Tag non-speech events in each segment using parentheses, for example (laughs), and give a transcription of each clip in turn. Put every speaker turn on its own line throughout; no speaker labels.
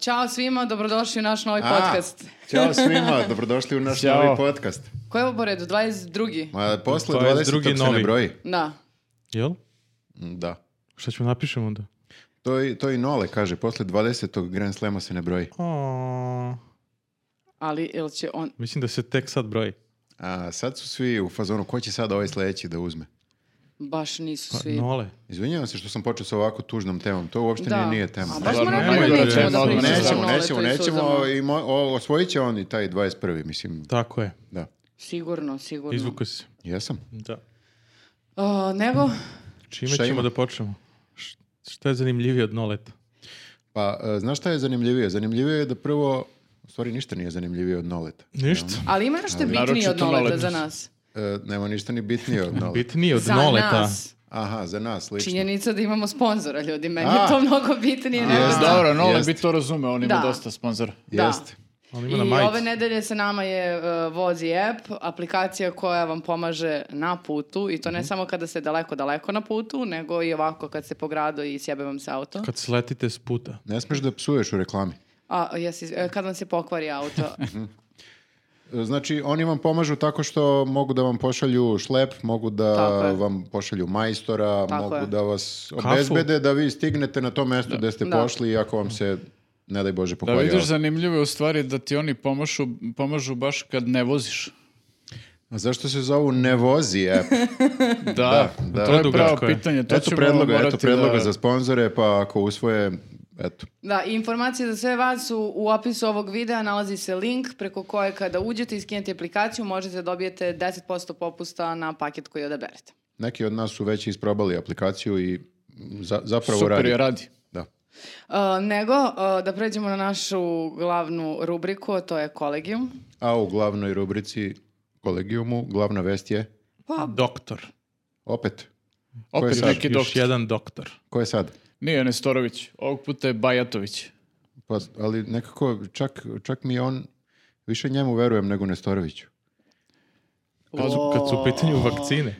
Ćao svima, dobrodošli u naš novi
A,
podcast.
Ćao svima, dobrodošli u naš
Ćao.
novi podcast.
Koji je ovo po redu? 22.
Ma, posle
To je
20.
drugi
se ne
novi.
broji.
Da.
Jel?
Mm, Da.
Šta ćemo napišemo onda?
To i, to i Nole kaže, posle 20. Grand Slema se ne broji.
O,
Ali, jel će on...
mislim da se tek sad broji.
A sad su svi u fazonu, ko će sad ovaj sledeći da uzme?
Baš nisu
Pa,
svi.
nole.
Izvinjavam se što sam počeo sa ovako tužnom temom, to uopšte
Da.
nije, nije tema.
A baš
Stvarno,
smo rekli
nemoj
da
da
nećemo da
rečemo.
pričamo
nećemo,
o Noletu
nećemo,
i
nećemo, ovaj-
suzama.
i mo- o- osvojit će oni taj 21. mislim,
Tako je.
da.
Sigurno, sigurno.
Izvuka se.
Jesam.
Da.
A, nego,
Čime
Šta
ćemo
ima?
da počnemo? Š- Šta je zanimljivije od noleta?
Pa, e, znaš šta je zanimljivije? Zanimljivije je da prvo, u stvari ništa nije zanimljivije od Noleta.
Ništa.
ali ima nešto bitnije
naročito
od Noleta
Nolet.
za nas.
E, nema ništa ni bitnije
(laughs)
od Noleta.
Bitnije od
Za
noleta.
nas.
Aha, za nas, lično.
Činjenica da imamo sponzora, ljudi. Meni je
A.
to mnogo bitnije. nego
Jest,
Jes,
da.
dobro, Nole
Jest.
bi to razumeo, on ima
Da.
dosta sponzora.
Da.
Jeste.
On ima na
I
majici.
ove nedelje sa nama je uh, Vozi app, aplikacija koja vam pomaže na putu i
Mhm.
to ne samo kada ste daleko, daleko na putu, nego i ovako kad ste po gradu i sjebe vam se auto.
Kad sletite s puta.
Ne smeš da psuješ u reklami.
A, jesi, e, kad vam se pokvari
(laughs)
auto.
Znači, oni vam pomažu tako što mogu da vam pošalju šlep, mogu da
Tako je.
vam pošalju majstora,
Tako
mogu
je.
da vas obezbede da vi stignete na to mesto gde ste
Da.
pošli i ako vam se, ne daj Bože,
Da
pokvari.
vidiš
auto.
zanimljivo je u stvari da ti oni pomažu, pomažu baš kad ne voziš.
A zašto se zovu ne vozi
(laughs)
app?
Da,
da.
to je pravo
Predugačko je.
pitanje. To
eto
ćemo
predloga,
morati
eto predloga
da-
za sponzore, pa ako usvoje, eto.
Da, i informacije za sve vas su u opisu ovog videa nalazi se link preko koje kada uđete i skinete aplikaciju možete da dobijete 10% popusta na paket koji odaberete.
Neki od nas su već isprobali aplikaciju i za- zapravo
Super
radi.
je radi.
Da.
E, nego, e, da pređemo na našu glavnu rubriku, a to je kolegijum.
A u glavnoj rubrici kolegijumu glavna vest je
Pa,
Doktor.
opet. Ko je
Opet
sad?
neki
Još
doktor.
jedan doktor.
Ko je sad?
Nije Nestorović, ovog puta je Bajatović.
Pa, ali nekako, čak, čak mi on, više njemu verujem nego Nestoroviću.
Kad su, kad su u pitanju
(laughs)
vakcine.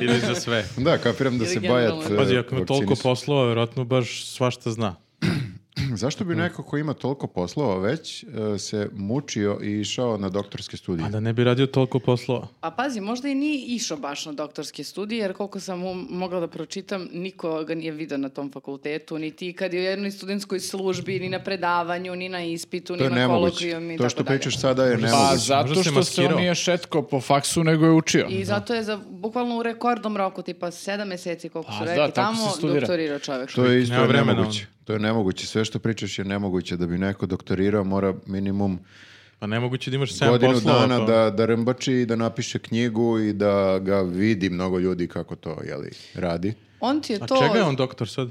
Ili za sve.
Da, kapiram da
Ili
se
generalno.
bajat
Pazi,
e,
ako ima
vakcini
toliko
su.
poslova, vjerojatno baš svašta zna.
Zašto
Mm.
bi neko ko ima toliko poslova već e, se mučio i išao na doktorske studije?
Pa da ne bi radio toliko poslova.
A pazi, možda i nije išao baš na doktorske studije, jer koliko sam um- mogla da pročitam, niko ga nije vidio na tom fakultetu, niti kad je u jednoj studentskoj službi, ni na predavanju, ni na ispitu,
to
ni
je
na
nemoguće.
kolokvijom i
To
tako
što
dalje.
pričaš sada je
Pa
nemoguće.
zato
Možda se
što se on
maskirao.
nije šetko po faksu, nego je učio.
I zato je za, bukvalno u rekordnom roku, tipa sedam meseci koliko
Pa
su
da,
rekli,
tako se
tamo
studira.
doktorirao čovek.
To je isto
Nema vremena ono.
nemoguće. To je nemoguće. Sve što pričaš je nemoguće. Da bi neko doktorirao mora minimum
Pa nemoguće da imaš 7
godinu
poslova.
dana
pa-
da, da rmbači i da napiše knjigu i da ga vidi mnogo ljudi kako to jeli, radi.
On ti je
A
to...
čega je on doktor sad?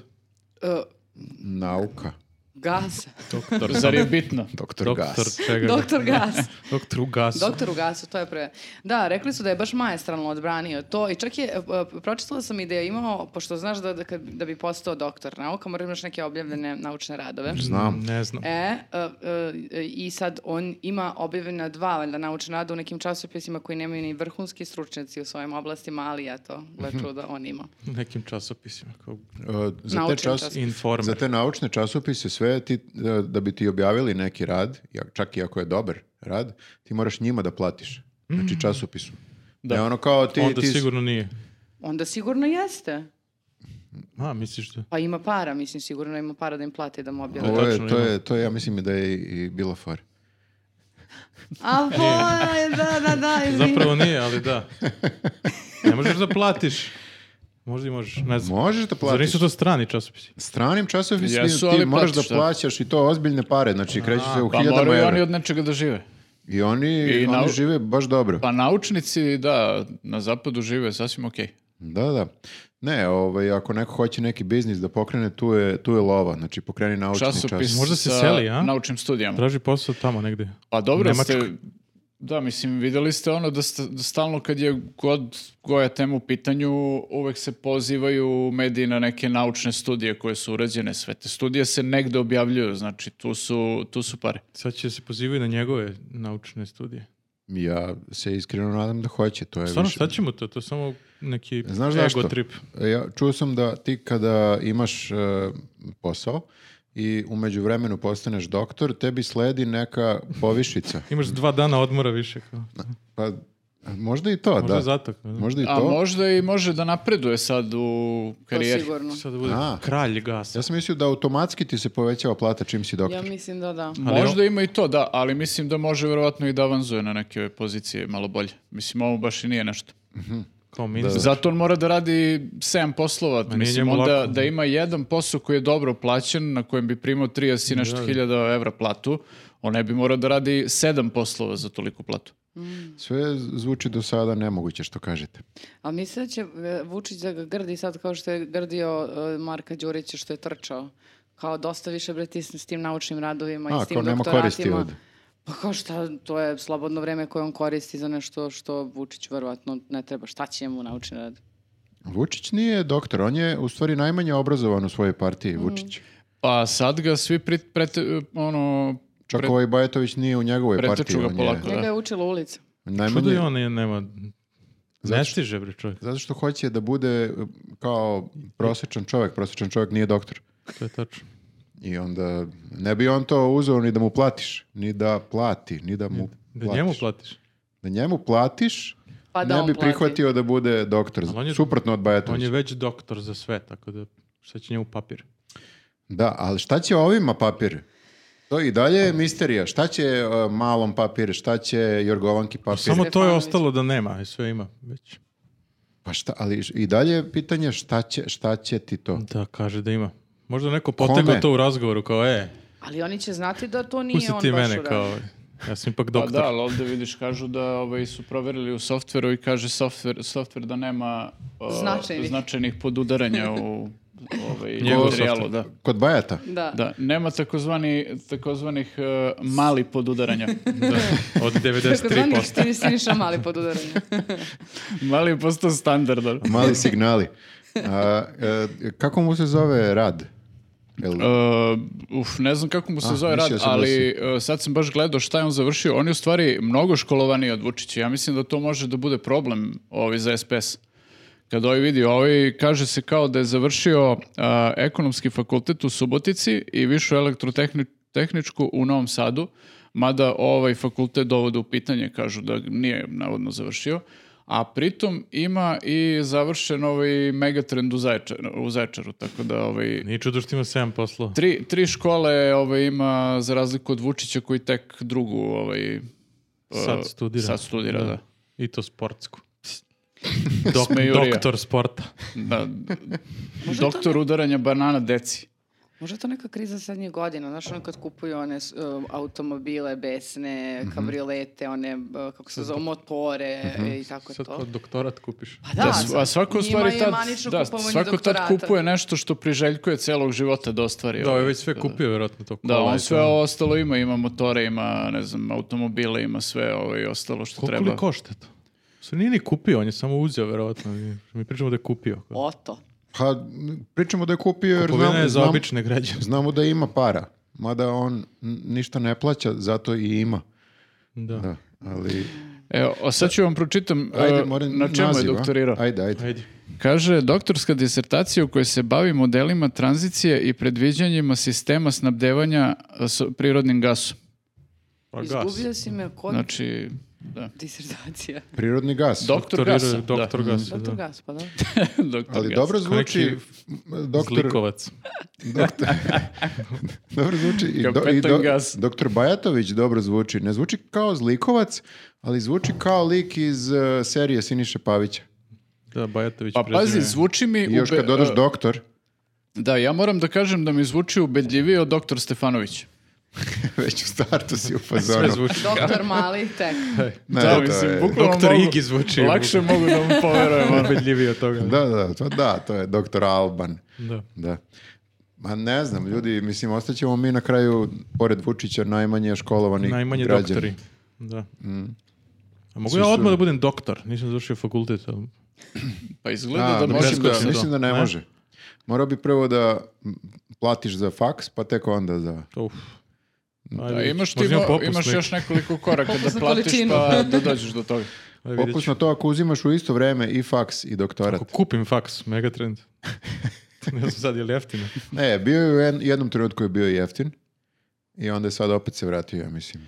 e,
Nauka.
gas.
Doktor.
Zar je bitno?
Doktor,
doktor
Gas.
čega?
(laughs) Doktor gas.
Doktor u gasu.
Doktor u gasu, to je pre. Da, rekli su da je baš maestralno odbranio to i čak je, e, e, pročitala sam i da je imao, pošto znaš da, da, kad- da bi postao doktor nauka, moraš imaš neke objavljene naučne radove.
Znam.
Ne znam.
E, e, e, i sad on ima objavljena dva valjda naučna rada u nekim časopisima koji nemaju ni vrhunski stručnjaci u svojim oblastima, ali eto, gle
Mhm.
čuda, on ima.
U Nekim časopisima. Kao
E, za, te
Naučni
čas,
časopis.
informer.
za te naučne časopise sve ti, e, da bi ti objavili neki rad, ja- čak i ako je dobar rad, ti moraš njima da platiš. Znači časopisu. Da.
Mm. Da.
Ne ono kao ti...
Onda
ti s-
sigurno nije.
Onda sigurno jeste.
A, misliš da?
Pa ima para, mislim, sigurno ima para da im plati da mu objavljaju.
Ovo je,
Tačno,
to,
ima.
je, to je, ja mislim da je i, i bila fora.
A boje, da, da, da, izvini.
Zapravo nije, ali da. Ne možeš da platiš. Možda i možeš, ne znam.
Možeš da
Zar
platiš.
nisu to strani časopisi?
Stranim časopisima
Jesu,
ti
ali
moraš da
platiš, da.
plaćaš i to ozbiljne pare. Znači, kreću se u
Pa
hiljadama
moraju oni
evra.
od nečega da žive.
I oni,
I
oni
nau-
žive baš dobro.
Pa naučnici, da, na zapadu žive sasvim okej.
Da, da. Ne, ovaj, ako neko hoće neki biznis da pokrene, tu je, tu je lova. Znači, pokreni naučni časopis.
Časopis
Možda se
sa
seli, a?
naučnim studijama.
Traži posao tamo negde.
Pa dobro
Nemačka.
ste, da mislim, videli ste ono da, sta- da stalno kad je god koja tema u pitanju, uvek se pozivaju mediji na neke naučne studije koje su urađene, sve te studije se negde objavljuju, znači tu su, tu su pare.
Sad će se pozivaju na njegove naučne studije.
Ja se iskreno nadam da hoće. To je
Stvarno,
više-
šta ćemo to? To je samo neki
Znaš
ego
zašto?
trip.
Ja čuo sam da ti kada imaš e, posao, i umeđu vremenu postaneš doktor, tebi sledi neka povišica.
Imaš dva dana odmora više. Kao.
Pa, možda i to,
Možda
Pa da.
zato. kao, da.
Možda i
A
to.
možda i može da napreduje sad u
To
karijeri.
sigurno.
Sad da bude
A.
kralj gasa.
Ja sam mislio da automatski ti se povećava plata čim si doktor.
Ja mislim da da.
Ali
Možda ima i to, da, ali mislim da može vjerovatno i da avanzuje na neke ove pozicije malo bolje. Mislim, ovo baš i nije nešto.
Kao ministar.
Zato on mora da radi 7 poslova.
nije
Mislim,
njemu
onda
lako.
da ima jedan posao koji je dobro plaćen, na kojem bi primao 30 i nešto hiljada evra platu, on ne bi morao da radi 7 poslova za toliku platu.
Sve zvuči do sada nemoguće što kažete.
A mislim da će e, Vučić da ga grdi sad kao što je grdio e, Marka Đurića što je trčao. Kao dosta više bre ti s s tim naučnim radovima
A,
i s tim
kao nema
doktoratima.
koristi od-
Pa kao šta, to je slobodno vreme koje on koristi za nešto što Vučić verovatno ne treba. Šta će njemu naučni rad?
Vučić nije doktor, on je u stvari najmanje obrazovan u svojoj partiji,
Mhm.
Vučić.
Pa sad ga svi pri, prete- ono,
Čak
Pre-
ovaj Bajatović nije u njegovoj
Pretrču
partiji.
ga
on je
polako. Da.
Njega je učila ulica.
najmanje-
Čudo i on je, nema... Ne stiže, bre, čovjek.
Zato što hoće da bude e, kao prosječan čovjek. Prosječan čovjek nije doktor.
To je tačno.
I onda ne bi on to uzeo ni da mu platiš. Ni da plati, ni da mu
Da
platiš.
njemu platiš.
Da njemu platiš,
Pa da
ne
on
bi
plati.
prihvatio da bude doktor.
Ali on je-
Suprotno od
On
Bajatovića.
je već doktor za sve, tako da šta će njemu papir?
Da, ali šta će ovima papir? To i dalje je misterija. Šta će e, malom papir, šta će Jorgovanki papir?
Pa Samo to je
Stefanović.
ostalo da nema, i sve ima već.
Pa šta, ali š- i dalje je pitanje šta će, šta će ti to?
Da, kaže da ima. Možda neko potegao to u razgovoru, kao e,
Ali oni će znati da to nije
pusti
on
ti
baš
mene,
uradio.
kao ja sam ipak
Pa
doktor.
da, ali ovdje vidiš kažu da ovaj, su proverili u softveru i kaže softver, softver da nema o,
Značajnih.
značajnih podudaranja u
(laughs)
ovaj,
Njegov
materijalu.
softver.
Da.
Kod Bajata?
Da.
Da, nema takozvani, takozvanih e, mali
(laughs)
podudaranja.
Da,
(laughs)
od
Tako zvani
93%.
Stini- Siniša mali pod udaranjem.
mali je postao standardan.
Mali signali. A, e, kako mu se zove rad? Jel,
E, uf, ne znam kako mu se
A,
zove rad,
mislio sam da
ali e, sad sam baš gledao šta je on završio. On je u stvari mnogo školovaniji od Vučića. Ja mislim da to može da bude problem ovi za SPS. Kad ovi vidi, ovi kaže se kao da je završio a, ekonomski fakultet u Subotici i višu elektrotehničku u Novom Sadu, mada ovaj fakultet dovode u pitanje, kažu da nije navodno završio, a pritom ima i završen ovaj megatrend u Zaječaru, u Zaječaru tako da ovaj,
Nije čudo što ima 7 poslova.
Tri, tri škole ovaj, ima za razliku od Vučića koji tek drugu ovaj, e,
Sad studira.
Sad studira, da.
I to
(laughs)
sportsku. Dok,
Smejurija.
doktor sporta.
(laughs)
da. Doktor udaranja banana deci.
Možda je to neka kriza zadnjih godina, znaš ono kad kupuju one s- uh, automobile besne, kabriolete, one, uh, kako se zove, motore i tako
Sad
to.
kao doktorat kupiš.
Pa da,
Da, sv- a svako u
njima
stvari
je
tad,
manično
da,
kupovanje
svako tad
doktorata.
kupuje nešto što priželjkuje celog života da ostvari.
Da, ovo
ovaj,
je već sve kupio, vjerojatno, to
Da,
kola i
on
to.
sve ovo ostalo ima, ima motore, ima, ne znam, automobile, ima sve ovaj, ostalo što
Koliko
treba.
li košta to? Sve nije ni kupio, on je samo uzeo, vjerojatno. Mi- Mi pričamo da je kupio.
Oto.
pa, m, pričamo da je kupio jer
Kupovina
znamo,
je za
znamo,
obične građane.
znamo da ima para. Mada on n- ništa ne plaća, zato i ima.
Da.
Da, ali...
Evo, a sad ću vam pročitam
Ajde,
e,
moram
na čemu
naziv,
je
a?
doktorirao.
Ajde, ajde.
Ajde.
Kaže, doktorska disertacija u kojoj se bavi modelima tranzicije i predviđanjima sistema snabdevanja e, s prirodnim gasom.
Pa gas.
Izgubio si me kod
Znači, da.
disertacija.
Prirodni gas.
Doktor
Doktorirao-
gasa.
Doktor
da.
gasa,
Doktor
da.
gas, pa da.
(laughs) Doktor
Ali
gasa.
dobro
Kao neki
zvuči...
Znači,
m, Doktor,
Zlikovac.
(laughs) Doktor, (laughs) dobro zvuči. I, do, i
Kapetan
do-
Gas.
Doktor Bajatović dobro zvuči. Ne zvuči kao zlikovac, ali zvuči kao lik iz eh, serije Siniše Pavića.
Da, Bajatović
Pa
prezime.
pazi, zvuči mi...
I još
ube-
kad dodaš
e,
doktor, (laughs)
Da, ja moram da kažem da mi zvuči ubedljivije od doktor Stefanović.
već u startu
(laughs)
si u fazonu.
Sve zvuči.
Doktor mali tek.
Ne,
da,
to
mislim,
je-
bukvalno
Doktor
mogu-
Igi zvuči.
Lakše mogu da mu
(laughs)
poverujem. ono.
ubedljiviji od toga.
Da, da, to, da, to je doktor Alban.
Da.
Da. Ma ne znam, ljudi, mislim, ostaćemo mi na kraju, pored Vučića, najmanje školovani
Najmanje
građani.
doktori. Da.
Mm.
A mogu
Svi
ja
su-
odmah da budem doktor? Nisam završio fakultet. ali-
Pa izgleda
A,
da može
mislim, da,
preskoči to.
mislim da ne
Ne?
može. Morao bi prvo da m, platiš za faks, pa tek onda za...
Uf. Ajde,
Da,
vidjet ću.
imaš, ti,
Možda ima
mo-
popust
imaš
neki.
još nekoliko koraka
Popust na
da platiš
količinu.
pa da dođeš do toga.
Ajde, vidjet ću.
Popust na to ako uzimaš u isto vreme i faks i doktorat.
Ako kupim faks, Pa megatrend. ne znam sad je
(laughs)
li jeftino.
Ne, E, bio je u en- jednom trenutku je bio jeftin i onda je sad opet se vratio, ja mislim.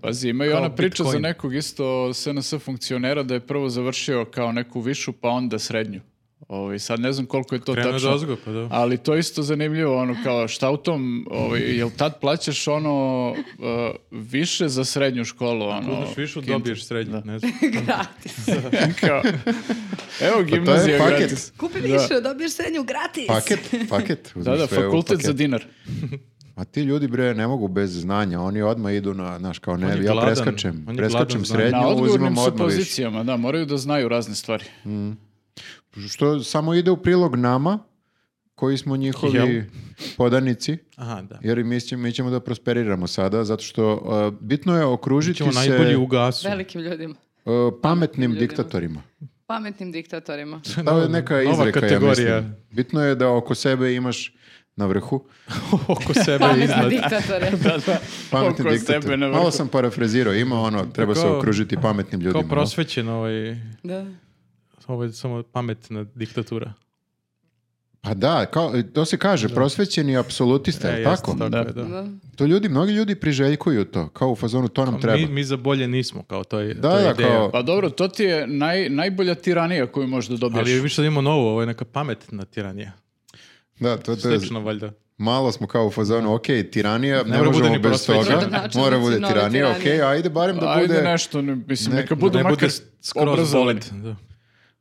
Pazi, ima i
Kao
ona priča za
Bitcoin.
nekog isto SNS funkcionera da je prvo završio kao neku višu pa onda srednju. Ovaj, sad ne znam koliko je to
Krenuo
tačno.
da ozgo, pa da.
Ali to je isto zanimljivo, ono kao šta u tom, ovaj, jel tad plaćaš ono uh, više za srednju školu? Ono,
Uzmeš višu,
kin-
dobiješ srednju,
(laughs)
ne znam.
gratis.
(laughs) kao, evo gimnazija
Pa paket.
gratis.
Kupi više, dobiješ srednju gratis.
Paket, paket.
Da,
uzmi
da,
sve u
fakultet za
paket.
dinar.
A ti ljudi, bre, ne mogu bez znanja. Oni odmah idu na, znaš, kao ne,
On je
ja
gladan,
preskačem.
on je gladan
Preskačem
znanja.
srednju,
Na odgovornim
uzimam
su
odmah više.
pozicijama, da, moraju da znaju razne stvari. (laughs)
Što samo ide u prilog nama, koji smo njihovi
Jel?
podanici,
Aha, da.
jer i mi, će- mi ćemo da prosperiramo sada, zato što uh, bitno je okružiti
Ćemo
se
najbolji u gasu.
Velikim ljudima.
uh, pametnim
ljudima.
(laughs)
diktatorima.
Pametnim diktatorima.
To je neka
Nova
izreka, ja
kategorija.
mislim. Bitno je da oko sebe imaš na vrhu
(laughs) Oko sebe
Pametni
iznad.
diktatore.
Da, da.
pametni
Oko
diktator.
sebe na vrhu.
Malo sam parafrazirao, ima ono, treba se
Kao-
okružiti pametnim ljudima.
Kao
no?
prosvećen ovaj,
Da.
ovaj samo pametna diktatura.
Pa da, kao, to se kaže, prosvećeni apsolutista,
E,
je
jeste,
tako?
Tako
Da.
je, da.
da.
To ljudi, mnogi ljudi priželjkuju to, kao u fazonu, to nam treba.
Mi, mi za bolje nismo, kao to je,
Da,
to je
da,
ideja.
kao-
Pa dobro, to ti je naj, najbolja tiranija koju možeš da dobiješ.
Ali mi sad imamo novo, ovo je neka pametna tiranija.
Da, to, to je,
Slično, valjda.
malo smo kao u fazonu, ok, tiranija, ne,
mora
možemo
bude ni
bez
prosvećeni.
toga,
Da, znači,
mora
znači,
bude
nove
tiranija, ok,
tiranije.
ajde barem da
Ajde
bude...
nešto, ne, mislim,
ne-
neka budu
Ne bude
makar
skroz
obrazovani.
bolid. Da.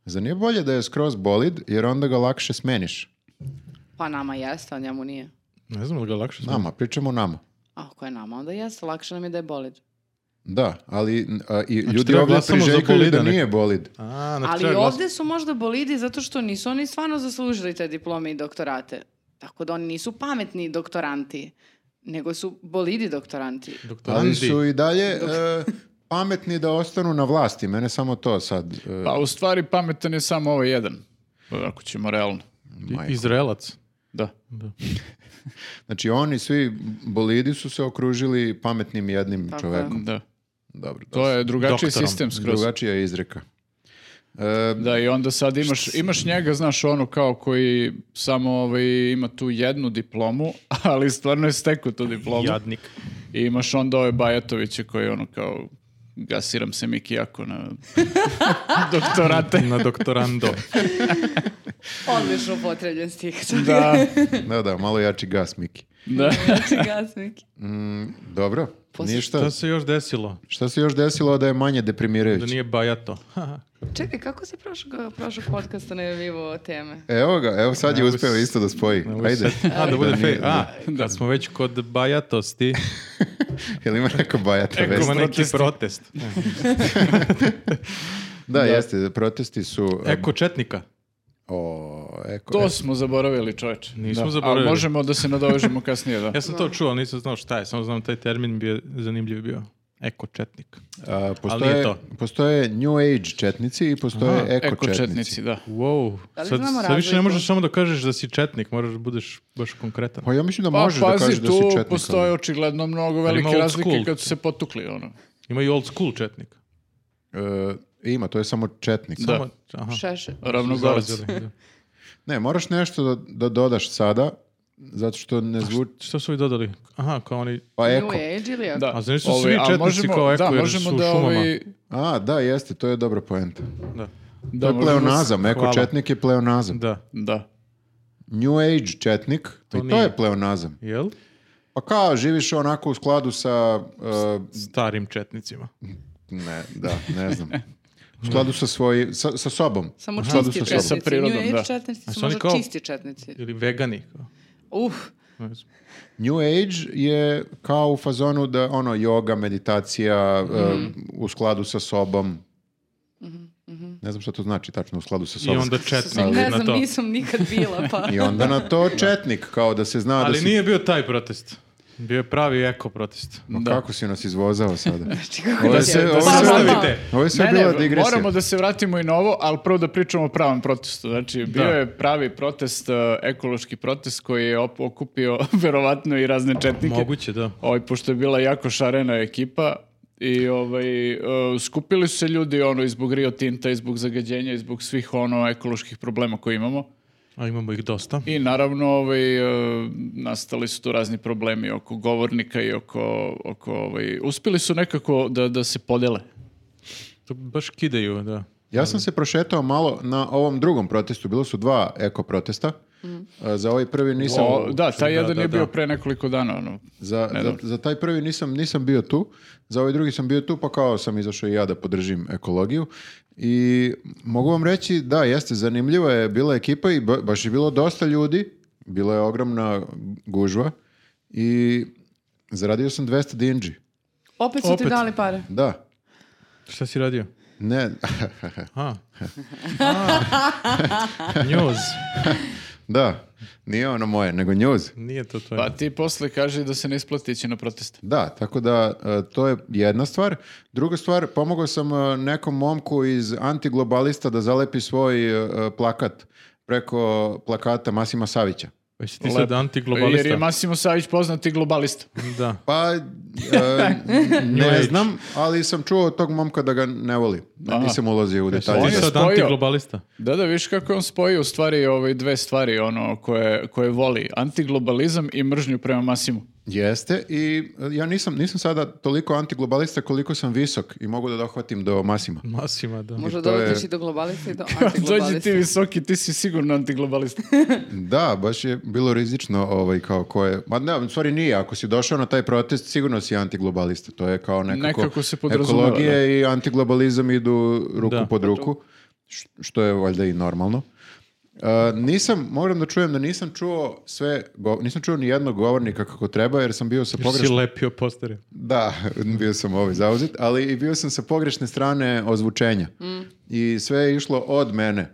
Zar nije bolje da je skroz bolid, jer onda ga lakše smeniš?
Pa nama jeste, a njemu nije.
Ne znam da ga lakše smo.
Nama, pričamo o nama.
A ako je nama, onda jeste. Lakše nam je da je bolid.
Da, ali a, i ljudi
Znači, treba
ovdje
glasamo za
priželjkuju da
bolida, ne-
nije bolid.
A, znači,
Ali
treba glas-
ovdje su možda bolidi zato što nisu oni stvarno zaslužili te diplome i doktorate. Tako da oni nisu pametni doktoranti, nego su bolidi doktoranti.
Ali
Doktorandi.
su i dalje e, pametni da ostanu na vlasti. Mene samo to sad... e,
Pa u stvari pametan je samo ovaj jedan. Ako ćemo realno.
I- Izraelac.
Da.
Znači oni svi bolidi su se okružili pametnim jednim
Tako je.
čovekom.
Da.
Dobro,
To je drugačiji
Doktorom.
sistem skroz.
drugačija je izreka. E,
Da, i onda sad imaš, imaš njega, znaš, ono kao koji samo ovaj, ima tu jednu diplomu, (laughs) ali stvarno je stekao tu diplomu.
Jadnik.
I imaš onda ove Bajatoviće koji ono kao gasiram se Mikijako na
(laughs)
doktorate.
Na doktorando.
Odlično potrebljen stih.
Da,
da, da, malo jači gas, Miki.
da. (laughs)
Gasniki.
Dobro,
Poslije-
ništa.
Šta se još desilo?
Šta se još desilo da je manje
Da
deprimirajuće?
nije bajato. (laughs) Haha.
Čekaj, kako si prošao, prošao podcast najavljivo teme?
Evo ga, evo sad je
Ne mogu
uspeo
s-
isto da spoji.
Ne mogu
Ajde. (laughs)
se- A, da bude
nije-
fej. A, kad smo već kod bajatosti,
Jel ima neka bajata vest?
ima neki
protesti.
protest.
Da, jeste, protesti su... e,
Eko četnika.
O, eko, e,
To smo zaboravili, čoveče.
Nismo
Da.
zaboravili.
A možemo da se nadovežemo kasnije, da.
Ja sam to čuo, ali nisam znao šta je, samo znam taj termin bio zanimljiv bio. Eko četnik.
A,
nije
postoje,
to.
postoje New Age četnici i postoje
Aha,
eko,
Eko
četnici.
četnici, da.
Wow.
Da li
sad,
znamo
sad više ne
razliku?
možeš samo da kažeš da si četnik, moraš da budeš baš konkretan.
Pa ja mislim da
Pa
možeš da kažeš
pazi,
da si
tu
četnik.
postoje očigledno
Ali
mnogo
ima
velike
old
razlike
school.
kad su se potukli, ono.
Ima i old school četnik.
ali, e, ima, to je samo četnik.
Da.
Samo, aha. Ono
Šeše.
Ravnogorac.
Zauzeli, da.
Ne, moraš nešto da, da dodaš sada, zato što ne zvuči...
Šta su ovi dodali? Aha, kao oni...
Pa
New
eko.
Age ili
Da.
A zar nisu
Ovaj,
svi
a
četnici kao eko
da,
jer
možemo
su u
da
šumama?
ovaj-
A, da, jeste, to je dobra poenta.
Da.
To
da,
je
možemo-
pleonazam, eko
Hvala.
četnik je pleonazam.
Da.
Da.
New Age četnik,
To
to i to
nije.
je pleonazam.
Jel?
Pa kao, živiš onako u skladu sa... uh,
Starim četnicima.
ne, da, ne znam. U skladu sa svojim... Sa, sa sobom.
Samo
U
čisti
skladu sa
četnici.
sobom.
Sa prirodom,
New Age
da.
četnici
A
su
su oni
možda
kao-
čisti četnici.
Ili vegani. kao.
Uf,
Ne znam.
New Age je kao u fazonu da ono yoga, meditacija e,
Mhm.
u skladu sa sobom. Ne znam šta to znači tačno u skladu sa
I
sobom.
(laughs)
onda četnik
ne
na
znam,
to.
nisam nikad bila,
(laughs)
pa...
I onda na to četnik kao da se zna da
Ali
si
nije bio taj protest. Bio je pravi eko protest.
Ma kako si nas izvozao sada?
Znači, kako
Ovo je
ti
sve- ovo je
Pa,
sve-
pa, pa.
Nastavite.
Ovo je sve
Ne, ne,
bila digresija.
moramo da se vratimo i na ovo, ali prvo da pričamo o pravom protestu. Znači, bio je pravi protest, e, ekološki protest koji je op- okupio (laughs) verovatno i razne četnike.
Moguće, da.
Ovaj, pošto je bila jako šarena ekipa i ovaj, e, skupili su se ljudi ono, i zbog Rio Tinta, i zbog zagađenja, i zbog svih ono ekoloških problema koje imamo.
A imamo ih dosta.
I naravno ovaj, e, nastali su tu razni problemi oko govornika i oko, oko ovaj, uspjeli su nekako da, da se podele.
To baš kidaju, da.
Ja sam se prošetao malo na ovom drugom protestu. Bilo su dva eko protesta. E, Za ovaj prvi nisam...
O, da, taj
da,
jedan
da,
je
da.
bio pre nekoliko dana. Ono.
Za, za, za taj prvi nisam, nisam bio tu, za ovaj drugi sam bio tu, pa kao sam izašao i ja da podržim ekologiju. I mogu vam reći, da, jeste, zanimljiva je bila ekipa i ba- baš je bilo dosta ljudi, bila je ogromna gužva i zaradio sam 200 dinđi.
Opet su ti
Opet.
dali pare.
Da,
Šta si radio?
ne, (laughs)
A. A. (laughs) News.
da, nije ono moje, nego news.
Nije to to.
Pa ti posle kaže da se ne isplati ići na proteste.
Da, tako da e, to je jedna stvar. Druga stvar, pomogao sam e, nekom momku iz antiglobalista da zalepi svoj e, plakat preko plakata Masima Savića.
Pa si ti
Lepo.
sad
Jer je
antiglobalista.
Massimo Savić poznati globalista.
Da.
Pa, e, ne
Age.
znam, ali sam čuo od tog momka da ga ne voli. Nisam ulazio u
Pa
detalje.
on
ti
je
sad
spojio.
antiglobalista.
Da, da, viš kako je on spoji u stvari ove dve stvari ono koje, koje voli. Antiglobalizam i mržnju prema Masimu. (laughs)
Jeste i e, ja nisam, nisam sada toliko antiglobalista koliko sam visok i mogu da dohvatim do Masima.
Masima, da.
Možda
to je-
doletiš i do globalista i do
Dođi ti
antiglobalista.
visoki, ti si sigurno
(laughs)
antiglobalista.
Da, baš je bilo rizično ovaj, kao ko je... Ma ne, u stvari nije. Ako si došao na taj protest, sigurno si antiglobalista. To je kao nekako...
Nekako se podrazumeva,
Ekologije
da.
i antiglobalizam idu ruku
Da.
pod ruku, š- što je valjda i normalno. Uh, nisam, moram da čujem da nisam čuo sve, go- nisam čuo ni jednog govornika kako treba jer sam bio sa
Jer si
pogrešne,
lepio postere.
da, (laughs) bio sam ovaj zauzet, ali i bio sam sa pogrešne strane ozvučenja i sve je išlo od mene,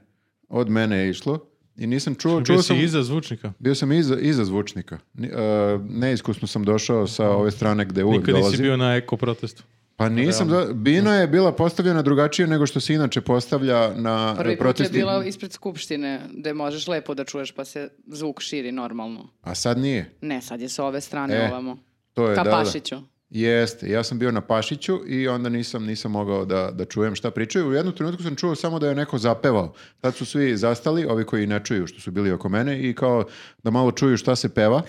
od mene je išlo i nisam čuo,
Bio
čuo
si
sam,
iza zvučnika.
bio sam iza, iza zvučnika. Ni- uh, neiskusno sam došao sa ove strane gde uvijek
Nikad nisi
dolazim.
bio na eko protestu.
Pa nisam, za, Bina je bila postavljena drugačije nego što se inače postavlja na
Prvi
protestima.
put je bila ispred skupštine, gde možeš lepo da čuješ, pa se zvuk širi normalno.
A sad nije.
Ne, sad je sa ove strane
E,
ovamo.
To je,
Ka
da, da.
Pašiću.
Jeste, ja sam bio na Pašiću i onda nisam, nisam mogao da, da čujem šta pričaju. U jednom trenutku sam čuo samo da je neko zapevao. Tad su svi zastali, ovi koji ne čuju što su bili oko mene i kao da malo čuju šta se peva,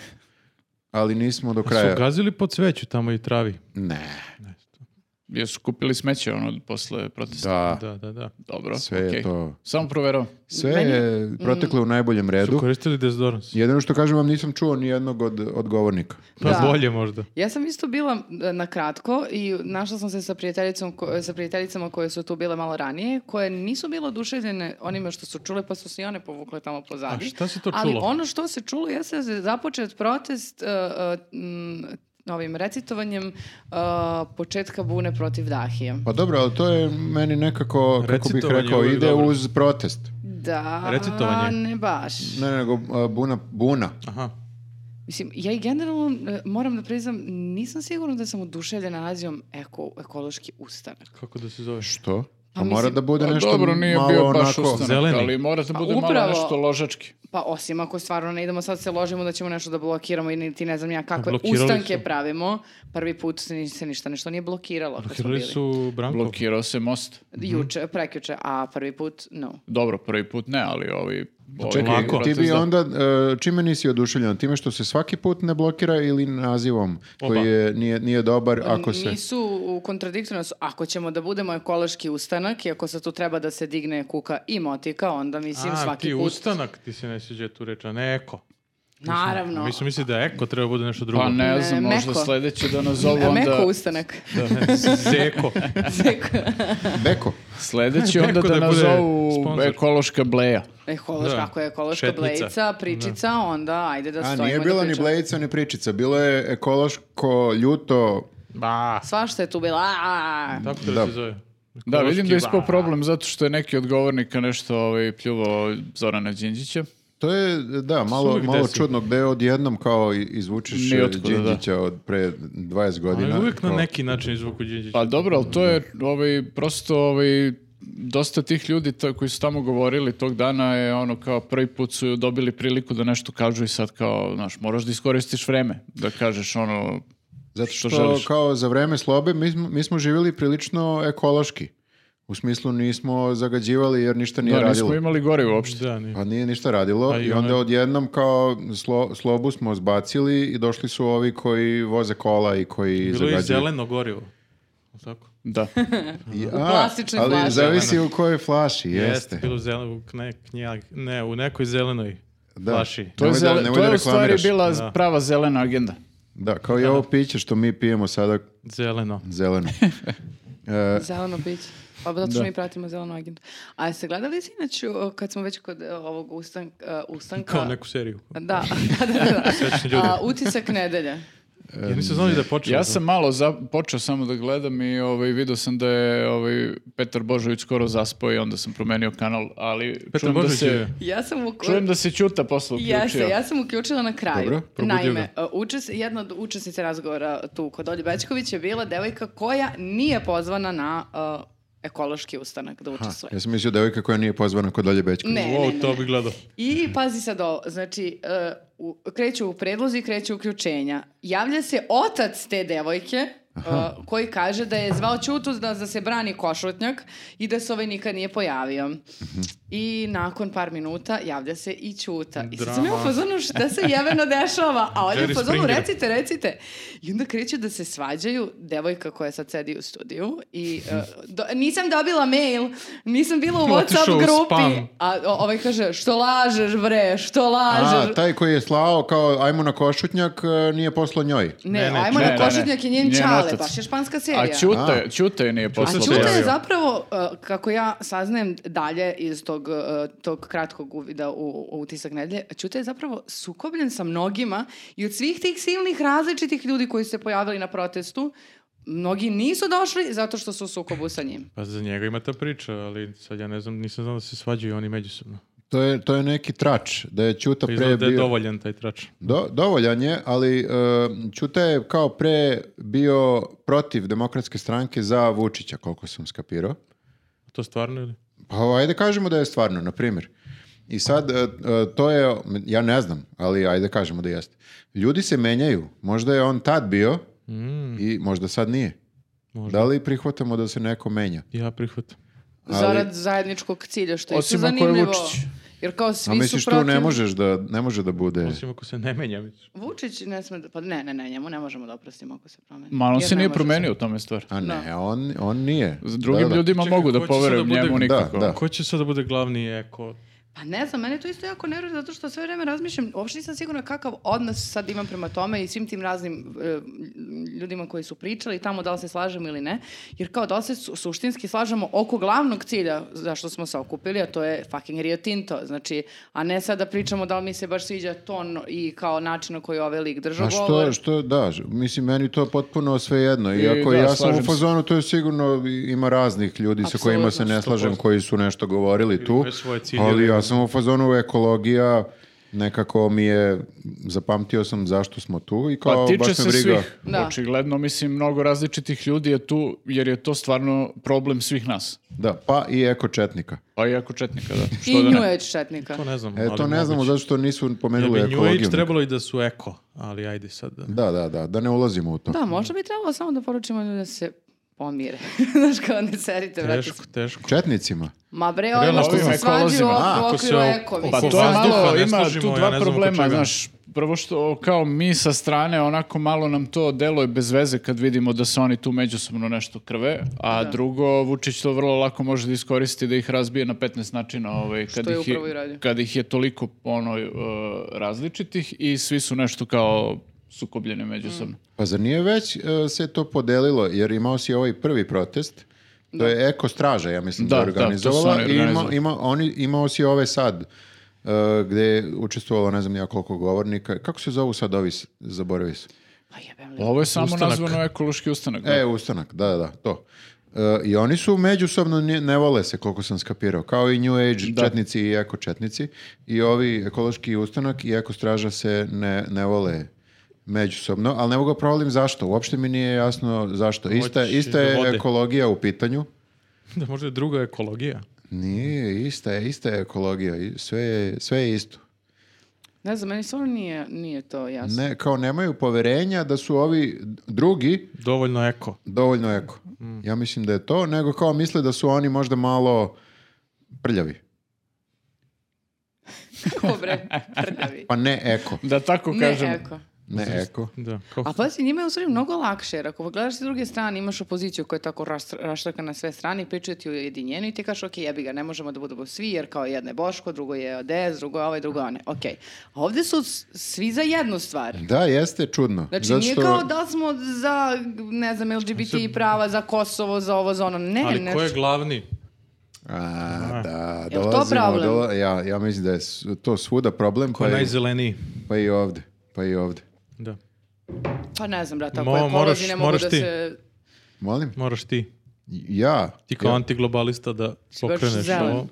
ali nismo do kraja.
Su gazili po cveću tamo i travi.
Ne,
Jer su kupili smeće ono posle protesta.
da,
Da, da, da.
Dobro,
sve je
okej.
to.
Samo proveravam.
Sve
Meni- Mm.
je proteklo u najboljem
Su
redu.
koristili dezodorans.
Jedino što kažem vam, nisam čuo ni jednog od, od govornika.
Pa
Da.
bolje možda.
Ja sam isto bila e, na kratko i našla sam se sa, prijateljicom, ko- sa prijateljicama koje su tu bile malo ranije, koje nisu bile oduševljene onime što su čule, pa su se i one povukle tamo pozadi.
A šta se to
Ali
čulo?
ono što se čulo jeste da je započet protest e, e, m, ovim recitovanjem e, početka bune protiv Dahije.
Pa dobro, ali to je meni nekako, kako bih
Recitovanje
rekao,
uvijek
ide
dobro.
uz protest.
Da,
Recitovanje?
ne baš.
Ne, nego a, buna, buna.
Aha.
Mislim, ja i generalno e, moram da priznam, nisam sigurna da sam oduševljena nazijom eko, ekološki ustanak.
Kako da se zove?
Što?
Pa
Pa
mislim-
mora da bude
Pa
nešto
Dobro, nije
malo
bio baš
onako...
ustanak,
zeleni.
ali mora da bude malo
Pa upravo-
nešto ložački.
Pa osim ako stvarno ne idemo sad se ložimo da ćemo nešto da blokiramo i niti ne znam ja kakve
Blokirali
ustanke
su.
pravimo. Prvi put se, ni- se ništa nešto nije blokiralo. kad Pa smo
Blokirali
bili.
su Mhm. Branko.
Blokirao se most.
Juče, prekjuče, a prvi put no.
Dobro, prvi put ne, ali ovi... ovi
čekaj,
protest,
lako.
Pa Ti bi
da.
onda, e, čime nisi oduševljen? Time što se svaki put ne blokira ili nazivom koji je, nije, nije dobar
Pa
ako se...
Nisu u- kontradiktorno su. Ako ćemo da budemo ekološki ustanak i ako se tu treba da se digne kuka i motika, onda mislim
A,
svaki
ti
put.
ustanak, ti se ne sviđa tu reč, a ne eko.
Naravno.
Mi smo mislili da eko treba bude nešto drugo.
Pa ne
Ne,
znam,
meko.
možda sledeće da
E,
nazovu onda...
Meko
(laughs)
ustanak.
Da, seko.
Beko. (laughs)
Sledeće
Neko
onda da,
da bude
nazovu
sponsor.
ekološka bleja.
Ekološ,
Da.
Ako je ekološka
Šetnica.
blejica, pričica, onda ajde da
A
stojimo
nije
da
bila ni
pričamo.
blejica ni pričica. Bilo je ekološko, ljuto...
Ba.
Svašta je tu bila. a, a, a.
Tako da,
Da.
se zove.
Da, vidim da
Ekološki
je ispao
ba.
problem zato što je neki od govornika nešto ovaj, pljuvao Zorana Đinđića.
To je, da, malo,
uvijek
malo
desi.
čudno gde odjednom kao i- izvučeš e,
Ni otkuda, da.
Đinđića od pre 20 godina.
Ali uvijek na
Kao-
neki način izvuku Đinđić.
Pa dobro, ali to je ovaj, prosto ovaj, dosta tih ljudi to, koji su tamo govorili tog dana je ono kao prvi put su dobili priliku da nešto kažu i sad kao, znaš, moraš da iskoristiš vreme da kažeš ono
Zato što,
Što želiš?
kao za vreme slobe mi smo, mi smo živjeli prilično ekološki. U smislu nismo zagađivali jer ništa nije
Da,
radilo.
nismo imali gore uopšte.
Da, nije.
Pa nije ništa radilo
A i ono
i onda
onaj-
odjednom kao slo- slobu smo zbacili i došli su ovi koji voze kola i koji
Bilo je i
zagađuju.
zeleno gorivo. Jel' Tako.
(laughs)
Da.
I-
U plastičnoj
ali
flaši.
zavisi u kojoj flaši, jeste.
Jeste, bilo je zeleno, u ne, knjag, ne, u nekoj zelenoj
Da.
flaši.
To je,
Nemoj da-
zele-
nemoj
to
da
je u stvari
reklamiraš.
bila
Da.
prava zelena agenda.
Da, kao i ovo piće što mi pijemo sada
Zeleno.
zeleno. Eh,
Zeleno piće. Pa zato što mi pratimo zelenu agendu. A jeste gledali si inače, o, kad smo već kod e, ovog ustan, e, ustanka...
Kao neku seriju.
Da, (laughs) da, da, da.
(laughs) Srećni ljudi.
A, utisak nedelje.
Ja nisam znali Znači, da je počeo.
Ja sam malo za, počeo samo da gledam i ovaj, vidio sam da je ovaj, Petar Božović skoro zaspao i onda sam promenio kanal, ali
Petar
čujem, da
Božović
se,
je...
Ja sam u...
čujem da se Ćuta posle uključio.
Jeste, ja sam uključila na kraju.
Dobro,
probudio
Naime, uh, učes, jedna od učesnica razgovora tu kod Olje Bećković je bila devojka koja nije pozvana na uh, ekološki ustanak da
Ha,
učestvuje.
ja sam mislio devojka koja nije pozvana kod Olje Bećković.
Ne, ne,
Wow, to bi gledao.
I pazi sad ovo, znači, e, u, kreću u predlozi, kreću uključenja. Javlja se otac te devojke, e, koji kaže da je zvao Ćutu da, da se brani košutnjak i da se ovaj nikad nije pojavio.
Mhm.
I nakon par minuta javlja se i Ćuta. I sad sam ja u
Drama.
fazonu šta se jeveno dešava, a on je u
Jerry
fazonu
Springer.
recite, recite. I onda kreću da se svađaju devojka koja sad sedi u studiju i e, do- nisam dobila mail, nisam
(laughs)
bila u
Otišao
WhatsApp
u
grupi.
spam.
A o- ovaj kaže, što lažeš bre, što lažeš?
A, taj koji je slao kao ajmo na košutnjak e, nije poslao njoj.
ne,
Ne, ne,
ajmo
ne,
na
ne,
košutnjak i njen
njen
čale,
otac.
baš je španska serija.
A Ćuta, je- Ćuta je nije
A
poslao.
Ćuta je
prijavio.
zapravo, uh, kako ja saznajem dalje iz tog, uh, tog kratkog uvida u, u utisak nedelje, Ćuta je zapravo sukobljen sa mnogima i od svih tih silnih različitih ljudi koji su se pojavili na protestu, mnogi nisu došli zato što su u sukobu sa njim.
Pa za njega ima ta priča, ali sad ja ne znam, nisam znao da se svađaju oni međusobno.
To je, to je neki trač, da je Ćuta
Pa
pre
izgleda da je
bio...
dovoljan taj trač.
Do, dovoljan je, ali e, Ćuta je kao pre bio protiv demokratske stranke za Vučića, koliko sam skapirao.
To stvarno ili?
Pa ajde kažemo da je stvarno, na primjer. I sad, e, e, to je, ja ne znam, ali ajde kažemo da jeste. Ljudi se menjaju, možda je on tad bio
Mm.
i možda sad nije.
Možda.
Da li prihvatamo da se neko menja?
Ja prihvatam.
Ali-
Zarad zajedničkog cilja, što je isto
Osim ako je
zanimljivo.
Vučić.
Jer kao svi
A misliš
su
tu
protiv...
ne možeš da, ne može da bude...
Osim ako se ne menja. misliš.
Vučić ne sme da... Pa ne, ne, ne, njemu ne možemo da oprostimo ako se promeni.
Malo
Jer
se
ne
nije
može
promenio u tome stvar.
A ne, on, on nije.
S
Da,
drugim
da.
ljudima
Čekaj,
mogu da
ko će sad
poverujem
da bude-
njemu
Da,
nikako.
da.
Ko će sad da bude glavni eko?
Pa ne znam, mene je to isto jako nervira zato što sve vreme razmišljam, uopšte nisam sigurna kakav odnos sad imam prema tome i svim tim raznim e, ljudima koji su pričali tamo da li se slažemo ili ne, jer kao da li se su, suštinski slažemo oko glavnog cilja zašto smo se okupili, a to je fucking Rio Tinto, znači, a ne sad da pričamo da li mi se baš sviđa ton i kao način na koji je ovaj lik držao
A što,
govor.
što, da, ž- mislim, meni to je potpuno sve jedno. I,
I
ako
da,
ja sam u
slažem se.
fazonu, to je sigurno i- ima raznih ljudi sa kojima se ne
Apsolutno,
slažem,
100%.
koji su nešto govorili tu.
imaju svoje ciljeve.
Ali ja sam u fazonu ekologija, nekako mi je, zapamtio sam zašto smo tu i kao
Pa tiče
baš me
se
briga.
svih.
Da.
Očigledno, mislim, mnogo različitih ljudi je tu, jer je to stvarno problem svih nas.
Da, pa i ekočetnika.
Pa i ako četnika, da.
I
Što da
New
ne?
Age četnika.
To ne znam.
E,
ali
to ne znamo
moguće.
zašto nisu
Jer
pomenuli
bi New Age
ekologiju.
trebalo i da su eko, ali ajde sad. Da.
Da, da, da, da ne ulazimo u to.
Da, možda bi trebalo samo da poručimo ljudima da se pomire. (laughs) Znaš kao ne serite, vrati
Teško, teško. (laughs)
Četnicima.
Ma bre, ovima
Realno,
što
ovim
se svađaju
ekolozima.
u
A,
ok- u
ako se
okviru
o-
ekovi.
Pa
Oko
to je
vazduha
malo,
ne
ima tu
slažemo,
dva
ja ne znam oko
problema,
čega.
znaš, prvo što kao mi sa strane onako malo nam to deluje bez veze kad vidimo da se oni tu međusobno nešto krve, a drugo Vučić to vrlo lako može da iskoristi da ih razbije na 15 načina, ovaj, kad,
je
ih je,
upravo i radio.
kad ih je toliko ono, eh, različitih i svi su nešto kao sukobljeni međusobno.
Mm.
Pa zar nije već e, se to podelilo, jer imao si ovaj prvi protest, to je Eko Straža, ja mislim, da,
Da, da, to su
organizovala.
oni
i ima-
organizovali.
ima- oni, imao si ove sad, e, gde je učestvovalo ne znam nija koliko govornika. Kako se zovu sad ovi, s- zaboravio sam.
Pa jebem li.
Ovo je samo
Ustanak.
nazvano ekološki ustanak. da.
E, Ustanak, da, da, da, to. E, I oni su međusobno ne, ne vole se, koliko sam skapirao, kao i New Age četnici i eko četnici. I ovi ekološki ustanak i eko straža se ne, ne vole međusobno, ali ne mogu da provalim zašto. Uopšte mi nije jasno zašto. Ista,
Hoćeš
ista
da
je
vode.
ekologija u pitanju.
Da možda je druga ekologija.
Nije, ista je, ista je ekologija. i Sve je, sve je isto.
Ne znam, meni stvarno nije, nije to (laughs) jasno.
Ne, kao nemaju poverenja da su ovi drugi
Dovoljno eko.
dovoljno eko.
Mm.
Ja mislim da je to, nego kao misle da su oni možda malo prljavi.
Kako bre, prdavi.
(laughs) Pa ne eko.
Da tako kažem.
Ne, eko.
Ne eko.
Da. Kao,
A pazi, njima je u stvari mnogo lakše, jer ako pogledaš s druge strane, imaš opoziciju koja je tako raštr- raštrka na sve strane i pričaju ti o jedinjenju i ti kažeš, ok, jebi ga, ne možemo da budemo svi, jer kao jedno je Boško, drugo je ODS, drugo je ovaj, drugo je one. Ok. A ovde su s- svi za jednu stvar.
Da, jeste čudno.
Znači,
Zato
nije
što-
kao da li smo za, ne znam, LGBT prava, za Kosovo, za ovo, za ono. Ne,
ali
ne.
ko je glavni?
A, da,
to
dolazimo,
problem?
dola- ja, ja mislim da je s- to svuda problem,
Ko
pa,
je
i,
najzeleniji?
pa i ovde. Pa i ovde.
Da.
Pa ne znam, brata,
Mo-
ako je
moraš-
kolozi, ne mogu
moraš
da
ti.
se...
Molim?
Moraš ti.
Ja.
Ti kao
ja,
antiglobalista da
baš
pokreneš
zelen.
ovo.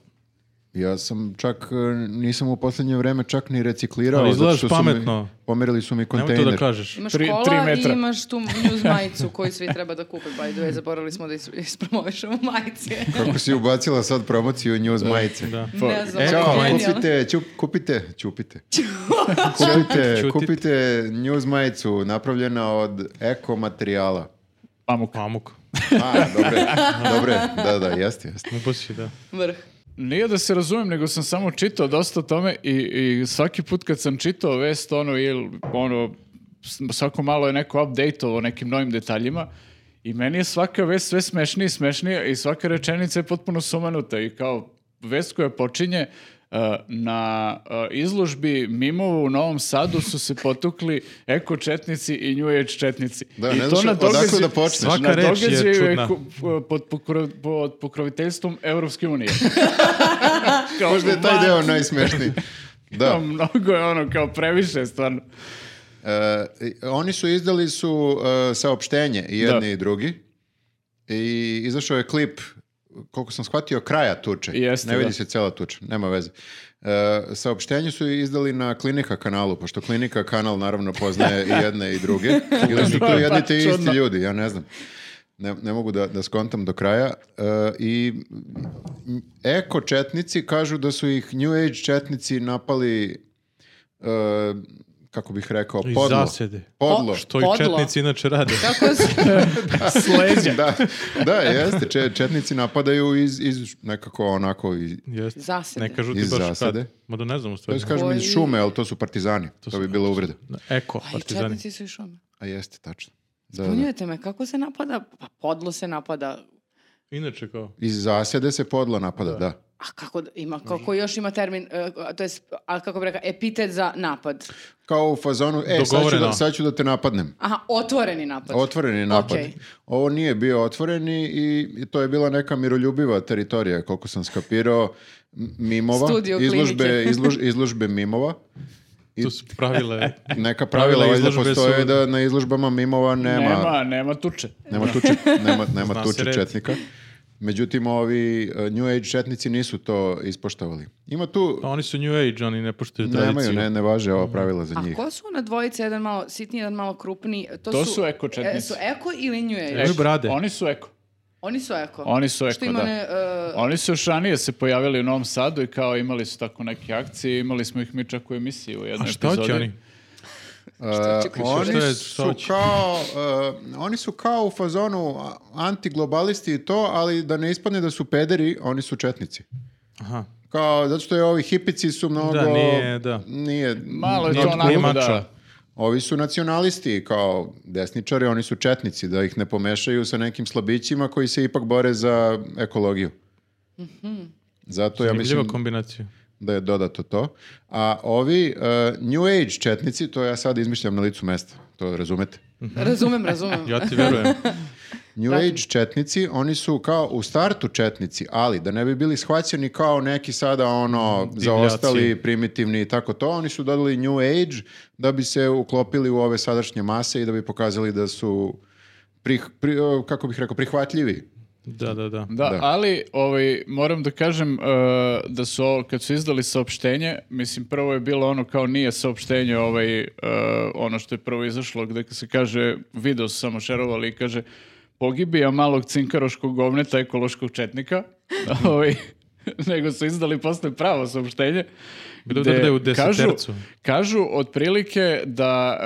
ja sam čak, e, nisam u posljednje vreme čak ni reciklirao.
Ali izgledaš
zato što su mi-
pametno.
pomerili su mi
Nemoj
kontejner.
to da kažeš.
Imaš
Tri-
kola
tri
i
metra.
imaš tu news (laughs) majicu koju svi treba da kupe. By the way, zaboravili smo da is- ispromovišemo majice.
Kako si ubacila sad promociju news majice.
Da.
Pa,
ne znam,
e,
ali
Kao,
Majice.
genijalno.
kupite, čup, kupite, čupite. kupite,
Čutit.
kupite news majicu napravljena od eko materijala.
Pamuk. Pamuk.
A, dobre, dobre, da, da, jeste, jeste.
Ne pusti, da.
Vrh.
Nije da se razumem, nego sam samo čitao dosta o tome i, i svaki put kad sam čitao vest, ono, il, ono, s- svako malo je neko update-ovo nekim novim detaljima i meni je svaka vest sve smešnija i smešnija i svaka rečenica je potpuno sumanuta i kao vest koja počinje uh, na uh, izložbi mimova u Novom Sadu su se potukli eko-četnici i New Age-četnici.
Da,
I
ne
to
znaš
na
odakle
događaj-
da počneš.
Svaka
na
reč je
događaju
čudna.
ku- pod, pokro- pod pokroviteljstvom Evropske unije. kao,
Možda je taj deo
what?
najsmešniji. Da.
Kao, Mnogo je ono kao previše stvarno.
E, i- oni su izdali su e, saopštenje i jedni i drugi i izašao je klip koliko sam shvatio kraja tuče.
Jeste,
ne vidi
da.
se cela tuča, nema veze. E, saopštenje su izdali na Klinika kanalu, pošto Klinika kanal naravno poznaje i jedne i
(laughs)
druge. I da su to
Pa,
jedni te isti
čudno.
ljudi, ja ne znam. Ne, ne mogu da, da skontam do kraja. E, I eko četnici kažu da su ih New Age četnici napali e, kako bih rekao,
I
podlo.
zasede.
Podlo.
Po-
To i
Podlo.
četnici inače rade.
Kako se...
Sleđa.
(laughs) da, da, jeste. če- Četnici napadaju iz, iz nekako onako, iz,
Jeste.
Zasede.
Ne kažu ti
Iz
baš
zasede.
kad. Ma da ne znam u
to
stvari.
je, kažem, iz
Koji-
šume, ali to su partizani. To, bi bilo uvreda.
Eko,
Pa i
partizani.
četnici su i šume.
A jeste, tačno. Da, da.
Zbunjujete me, kako se napada? Pa podlo se napada.
Inače kao.
Iz zasede se podlo napada, da.
A kako da- ima, kako još ima termin, e, a to je, a kako bi rekao, epitet za napad.
Kao u fazonu, e, sad ću, da,
Dogovoreno.
sad ću da te napadnem.
Aha, otvoreni napad.
Otvoreni napad.
Okej.
Ovo nije bio otvoreni i, i to je bila neka miroljubiva teritorija, koliko sam skapirao, m- mimova,
Studio
izložbe,
klinike.
izlož- izložbe (laughs) mimova. I-
Tu su pravile.
Neka pravila valjda
izložbe
postoje
su-
da na izložbama mimova
Nema, nema tuče.
Nema tuče,
(laughs)
nema, nema
Zna se
tuče
red.
četnika. Međutim, ovi e, New Age četnici nisu to ispoštovali. Ima tu,
A Oni su New Age, oni ne poštuju
nemaju,
tradiciju.
ne, ne važe
Mhm.
ova pravila za
A
njih.
ko su ona dvojica, jedan malo sitniji, jedan malo krupniji? To,
To
su,
su eko četnici.
e, su eko ili new age?
Eko. Oni brade.
E, Oni su eko.
Oni su eko.
Oni su eko,
Što ima
da.
one,
(laughs)
e,
Oni su još ranije se pojavili u Novom Sadu i kao imali su tako neke akcije, imali smo ih mi čak u emisiji u jednoj
A
epizodi.
šta hoće oni?
E,
čekaj,
oni,
šta je-
su
šta hoće?
kao, e, oni su kao u fazonu a- antiglobalisti i to, ali da ne ispadne da su pederi, oni su četnici.
Aha.
Kao, zato što je ovi hipici su mnogo...
Da, nije, da.
Nije,
Malo je
Nije
to onako
mačo.
da...
Ovi su nacionalisti kao desničari, oni su četnici, da ih ne pomešaju sa nekim slabićima koji se ipak bore za ekologiju. Zato ja
Zanimljiva
mislim
kombinacija.
da je dodato to. A ovi e, New Age četnici, to ja sad izmišljam na licu mesta, to razumete.
razumem, razumem.
(laughs) Ja ti verujem.
New Age četnici, oni su kao u startu četnici, ali da ne bi bili shvaćeni kao neki sada ono
Mm,
zaostali, primitivni i tako to, oni su dodali New Age da bi se uklopili u ove sadašnje mase i da bi pokazali da su prih- pri- o, kako bih rekao, prihvatljivi.
Da, da, da.
Da,
Da.
ali ovaj, moram da kažem e, da su ovo, kad su izdali saopštenje, mislim prvo je bilo ono kao nije saopštenje ovaj, e, ono što je prvo izašlo gde se kaže, video su samo šerovali i
(laughs)
kaže pogibija malog cinkaroškog govneta ekološkog četnika. ovaj, (laughs) nego su izdali posle pravo saopštenje.
Gde
gde
udare u
kažu,
desetercu.
kažu otprilike da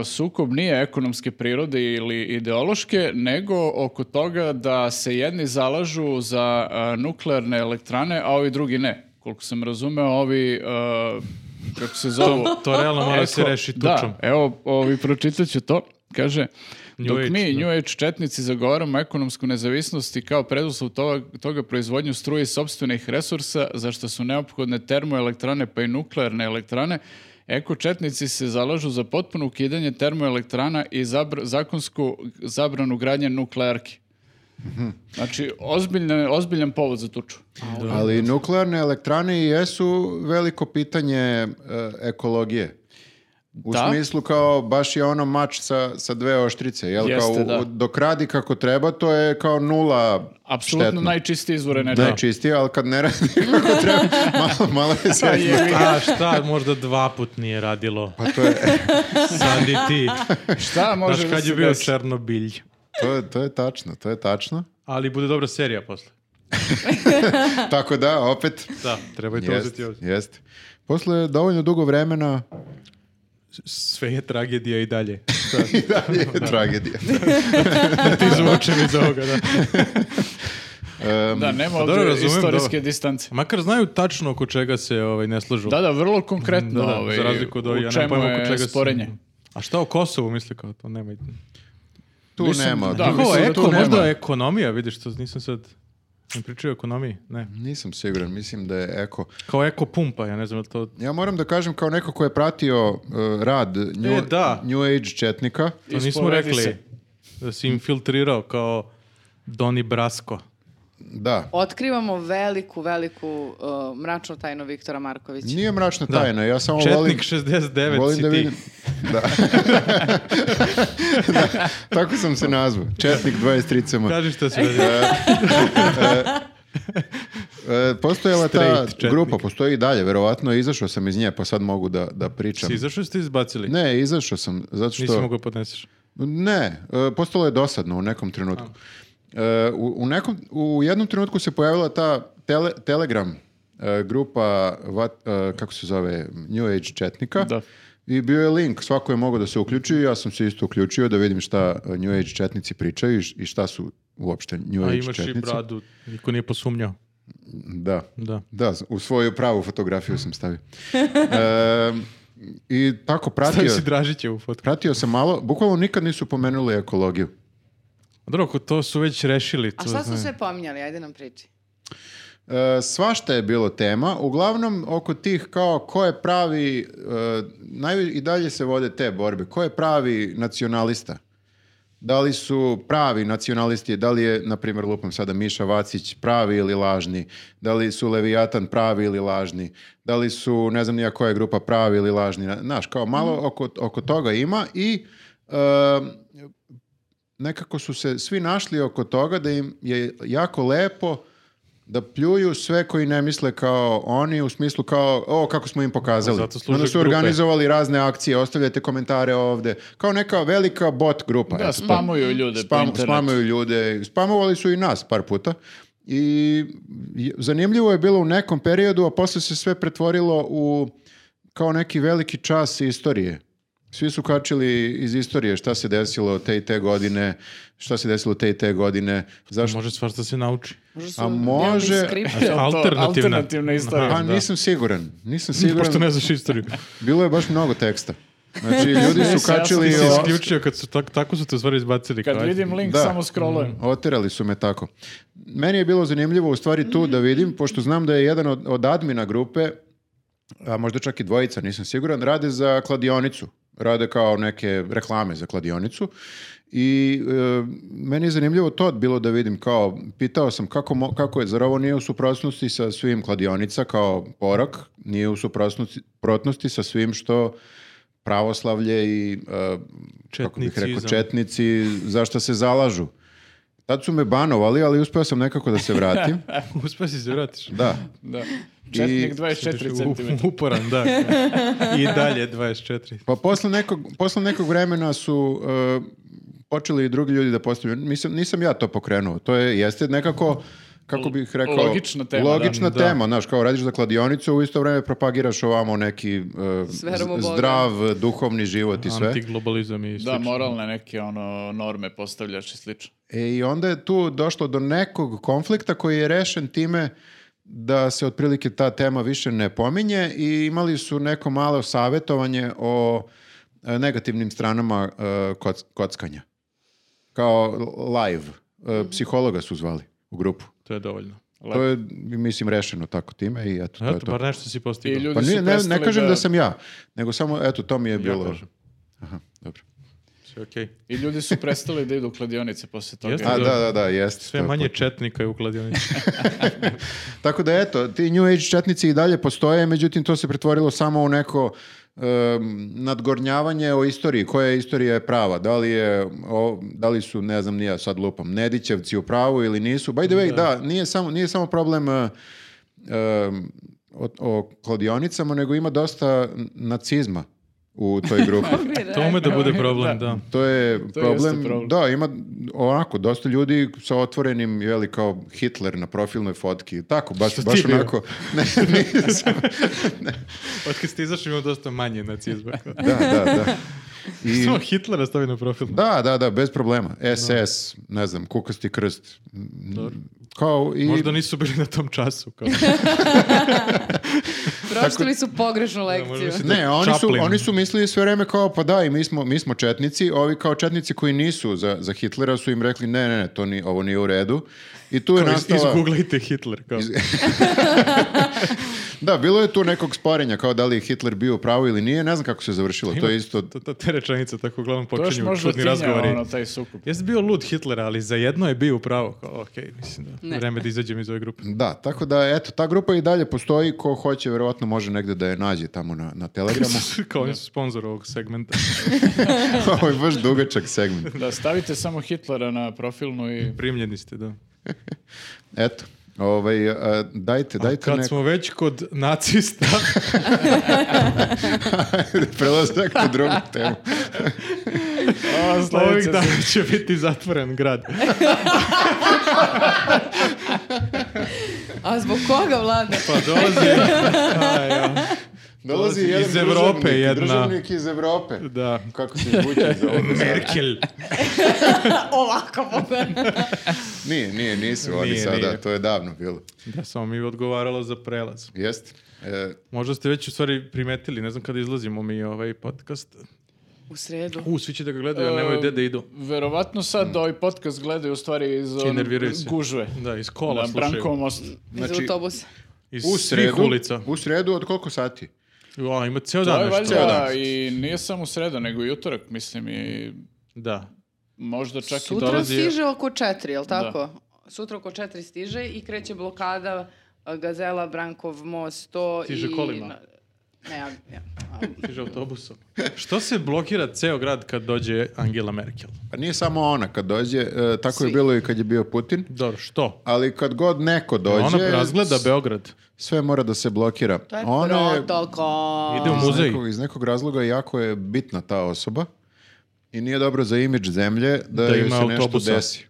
uh, sukob nije ekonomske prirode ili ideološke, nego oko toga da se jedni zalažu za uh, nuklearne elektrane, a ovi drugi ne. Koliko sam razumeo, ovi... uh, kako se zovu?
To realno mora da se
Eko,
reši tučom.
Da, evo, ovi pročitat ću to. Kaže,
New
dok
Age,
mi
da.
New Age četnici zagovaramo ekonomsku nezavisnost i kao preduslov toga, toga proizvodnju struje i sobstvenih resursa, za što su neophodne termoelektrane pa i nuklearne elektrane, Eko četnici se zalažu za potpuno ukidanje termoelektrana i zabr- zakonsku zabranu gradnje nuklearki. Znači, ozbiljne, ozbiljan povod za tuču.
Ali nuklearne elektrane i jesu veliko pitanje e, ekologije. U
Da.
smislu kao baš je ono mač sa, sa dve oštrice. Jel?
Jeste,
kao, u-
da.
u- dok radi kako treba, to je kao nula
Apsolutno
štetno.
najčistiji izvor energije.
Najčistije, ali kad ne radi (laughs) kako treba, malo, malo je sjajno.
A šta, možda dva put nije radilo.
Pa to je,
Sad i ti.
Šta može
Znaš
da
kad
se
je bio
desi?
Černobilj.
to, je- to je tačno, to je tačno.
Ali bude dobra serija posle.
Tako da,
(laughs)
opet,
Da, treba i to uzeti
jeste,
ovdje.
jeste. Posle dovoljno dugo vremena (laughs)
Sve je tragedija i dalje.
i dalje je tragedija.
Ti zvučem iz ovoga, da.
Da, nema
Pa dobro,
ovdje
razumem,
istorijske
dobro.
distance.
Makar znaju tačno oko čega se ovaj, ne slažu.
Da, da, vrlo konkretno.
Da, da,
ovaj,
za razliku od
u
ovih, ja nemam
čemu
pojma
je
oko čega se-
sporenje.
A šta o Kosovu misli kao to? Nema.
Tu
Mislim,
nema.
da,
tu-
Kako,
mislim da
eko,
tu nema.
možda ekonomija, vidiš, to nisam sad... Ne pričaju o ekonomiji, ne.
Nisam siguran, mislim da je eko.
Kao eko pumpa, ja ne znam je li to...
Ja moram da kažem kao neko ko je pratio uh, rad new,
E, da.
new Age četnika.
To nismo
Ispovedi
rekli.
se.
Da si infiltrirao kao Doni Brasko.
Da.
Otkrivamo veliku, veliku uh, mračnu tajnu Viktora Markovića.
Nije mračna tajna, ja samo volim...
Četnik 69
volim
si
da
ti.
vidim- Da.
(laughs)
Da, Tako sam se nazvao. Četnik 23 cema.
Kaži šta si radio.
E, postojala ta
Straight četnik.
grupa, postoji i dalje, verovatno izašao sam iz nje, pa sad mogu da, da pričam.
Si izašao ili ste izbacili?
Ne, izašao sam, zato što...
Nisi mogao podneseš.
Ne, e, postalo je dosadno u nekom trenutku. E, u, u nekom, u jednom trenutku se pojavila ta tele, Telegram e, grupa, vat- e, kako se zove, New Age četnika.
Da.
I bio je link, svako je mogao da se uključi, ja sam se isto uključio da vidim šta e, New Age četnici pričaju i š- i šta su uopšte New
A
Age
imaš i
četnici.
bradu, niko nije posumnjao.
Da.
Da.
Da, u svoju pravu fotografiju sam stavio. E, I tako
Stavi
pratio,
si Dražića u fotku.
pratio sam malo, bukvalno nikad nisu pomenuli ekologiju.
A Dobro, ako to su već rešili. To, znači,
A šta su
znaju.
sve pominjali? Ajde nam priči.
E, svašta je bilo tema, uglavnom oko tih kao ko je pravi, e, naj- i dalje se vode te borbe, ko je pravi nacionalista? Da li su pravi nacionalisti, da li je, na primjer, lupam sada Miša Vacić pravi ili lažni, da li su Leviatan pravi ili lažni, da li su, ne znam nija koja je grupa pravi ili lažni, znaš, kao malo
Mhm.
oko, oko toga ima i e, nekako su se svi našli oko toga da im je jako lepo da pljuju sve koji ne misle kao oni u smislu kao o kako smo im pokazali.
Zato služe
Onda su
grupe.
organizovali razne akcije, ostavljajte komentare ovde. Kao neka velika bot grupa.
Da,
eto,
spamuju ljude po
spam-
internetu.
Spamuju ljude. Spamovali su i nas par puta. I je- zanimljivo je bilo u nekom periodu, a posle se sve pretvorilo u kao neki veliki čas istorije. Svi su kačili iz istorije šta se desilo te i te godine, šta se desilo te i te godine, zašto
Može svašta se
(laughs)
nauči.
Možda su
A može-
delili
(laughs)
skript.
Znači, alternativna.
alternativna istorija.
Pa
Aha, da.
nisam siguran, nisam siguran.
Pošto ne
(laughs)
znaš istoriju.
Bilo je baš mnogo teksta. Znači, ljudi su
Jasno,
kačili...
Ti si
o-
isključio kad su tak, tako su te u stvari izbacili.
Kad
kao, ajde.
vidim link,
Da.
samo
Mhm.
scrollujem.
Mm, Oterali su me tako. Meni je bilo zanimljivo u stvari tu da vidim, pošto znam da je jedan od, od admina grupe, a možda čak i dvojica, nisam siguran, rade za kladionicu. Rade kao neke reklame za kladionicu. I e, meni je zanimljivo to bilo da vidim kao, pitao sam kako, mo- kako je, zar ovo nije u suprotnosti sa svim kladionica kao porok, nije u suprotnosti protnosti sa svim što pravoslavlje i e, kako bih rekao,
Četnicizam. (laughs)
četnici, zašto se zalažu. Tad su me banovali, ali uspeo sam nekako da se vratim.
Uspeo si se vratiš.
Da.
Da. Četnik
(laughs)
24 cm.
U-
(laughs)
Uporan, da. I dalje 24.
Pa posle nekog, posle nekog vremena su e, počeli i drugi ljudi da postavljaju. Mislim, nisam ja to pokrenuo. To je, jeste nekako kako bih rekao...
Logična tema, da.
Logična
Da.
tema, znaš, kao radiš za kladionicu, u isto vrijeme propagiraš ovamo neki e,
S verom u
z-
Boga.
zdrav, e, duhovni život i sve.
Antiglobalizam i
Da,
slično.
moralne neke ono, norme postavljaš i slično.
E, I onda je tu došlo do nekog konflikta koji je rešen time da se otprilike ta tema više ne pominje i imali su neko malo savjetovanje o e, negativnim stranama e, koc- kockanja. Kao live. E, Psihologa su zvali u grupu.
To je dovoljno.
To je, mislim, rešeno tako time i eto, to je
Eto,
to.
bar nešto si
I
postigao.
ljudi
Pa
su
nije- ne, ne
prestali
kažem da... sam ja, nego samo, eto, to mi je bilo...
kažem.
Aha, dobro.
Sve okej.
I ljudi su prestali da idu u kladionice posle toga.
Jeste.
A, da, da, da, jeste.
Sve
to je
manje
potpuno.
četnika je u
(laughs)
kladionici.
Tako da eto, ti New Age četnici i dalje postoje, međutim to se pretvorilo samo u neko em, nadgornjavanje o istoriji, koja je istorija je prava, da li, je, o- da li su, ne znam, nije sad lupam, Nedićevci u pravu ili nisu. By the way, da, nije, samo, nije samo problem e, em, o, o kladionicama, nego ima dosta nacizma u toj grupi.
to ume da bude problem, da.
To je problem,
problem.
Da, ima onako dosta ljudi sa otvorenim, je li kao Hitler na profilnoj fotki. Tako, baš
Što ti
baš
bio?
onako. Ne, nisam.
Od kad ste izašli ima dosta manje nacizma.
(laughs) da, da,
(laughs)
da. I
Samo Hitlera stavi na profil.
da, da, da, bez problema. SS, ne znam, kukasti krst. M, Kao i
Možda nisu bili na tom času.
(laughs)
Kao.
Pročitali su pogrešnu lekciju.
možda se-
Ne, oni su,
Chaplin.
oni su mislili sve vreme kao, pa da, i mi smo, mi smo četnici, ovi kao četnici koji nisu za, za Hitlera su im rekli, ne, ne, ne, to ni, ovo nije u redu. I tu je
Ono, Iz-
nastala...
Izguglajte Hitler. Kao.
Da, bilo je tu nekog sporenja, kao da li je Hitler bio u pravu ili nije, ne znam kako se završilo, to je isto...
To, to, te rečenice tako uglavnom
To još
počinju
možda
čudni
tinja
razgovori.
ono, taj sukup.
Jesi bio lud Hitlera, ali za jedno je bio upravo. Kao, ok, mislim da.
Ne.
Vreme da izađem iz ove grupe.
Da, tako da, eto, ta grupa i dalje postoji, ko hoće, verovatno može negde da je nađe tamo na, na
(laughs)
Telegramu.
kao oni su sponsor ovog segmenta.
Ovo je baš dugačak segment.
Da, stavite samo Hitlera na profilnu i...
Primljeni ste, da.
Eto, ovaj, a, dajte, dajte (laughs)
Kad
neko.
smo već kod
(laughs)
nacista,
Prelazak na drugu
(laughs)
temu.
A,
ovih
sledeća
dana će biti
(laughs)
zatvoren grad.
A zbog koga vlada?
Pa dolazi...
(laughs)
Aj, ja.
Dolazi
Iz
jedan
Evrope
državnik,
jedna.
državnik iz Evrope.
Da.
Kako se izvuče
(laughs)
za ovo?
Merkel.
(laughs) Ovako
Nije, nije, nisu oni
Nije,
sada,
nije.
to je davno bilo.
Da, samo mi je odgovaralo za prelaz.
Jeste? E,
Možda ste već u stvari primetili, ne znam kada izlazimo mi ovaj podcast.
U sredu.
U, svi će da ga gledaju, a nemaju gde da idu.
Verovatno sad ovaj podcast gledaju u stvari iz one
nerviraju se.
gužve.
Da, iz kola
Na
slušaju.
Brankovom mostu.
Iz autobusa.
Iz
u
svih
sredu,
ulica.
u sredu od koliko sati?
Ua, ima ceo
To
dan
je
nešto.
Ceo
valjda
dan.
i nije samo sreda, nego i utorak, mislim, i
Da.
možda čak i
Sutra
dolazi-
stiže oko četiri, jel tako? Sutra oko četiri stiže i kreće blokada a, Gazela, Brankov, most, to
Stiže
i...
kolima.
na- Ne, ja, ja. a,
Stiže autobusom. Što se blokira ceo grad kad dođe Angela Merkel?
Pa nije samo ona kad dođe, e, tako je
Svi.
bilo i kad je bio Putin,
Dobro, što?
ali kad god neko dođe,
Ona razgleda
s-
Beograd.
sve mora da se blokira.
To je
Ona je
protokol.
Ide u
iz
muzej.
nekog, iz nekog razloga jako je bitna ta osoba i nije dobro za imidž zemlje da,
Da
joj
ima
se nešto
autobusa.
desi.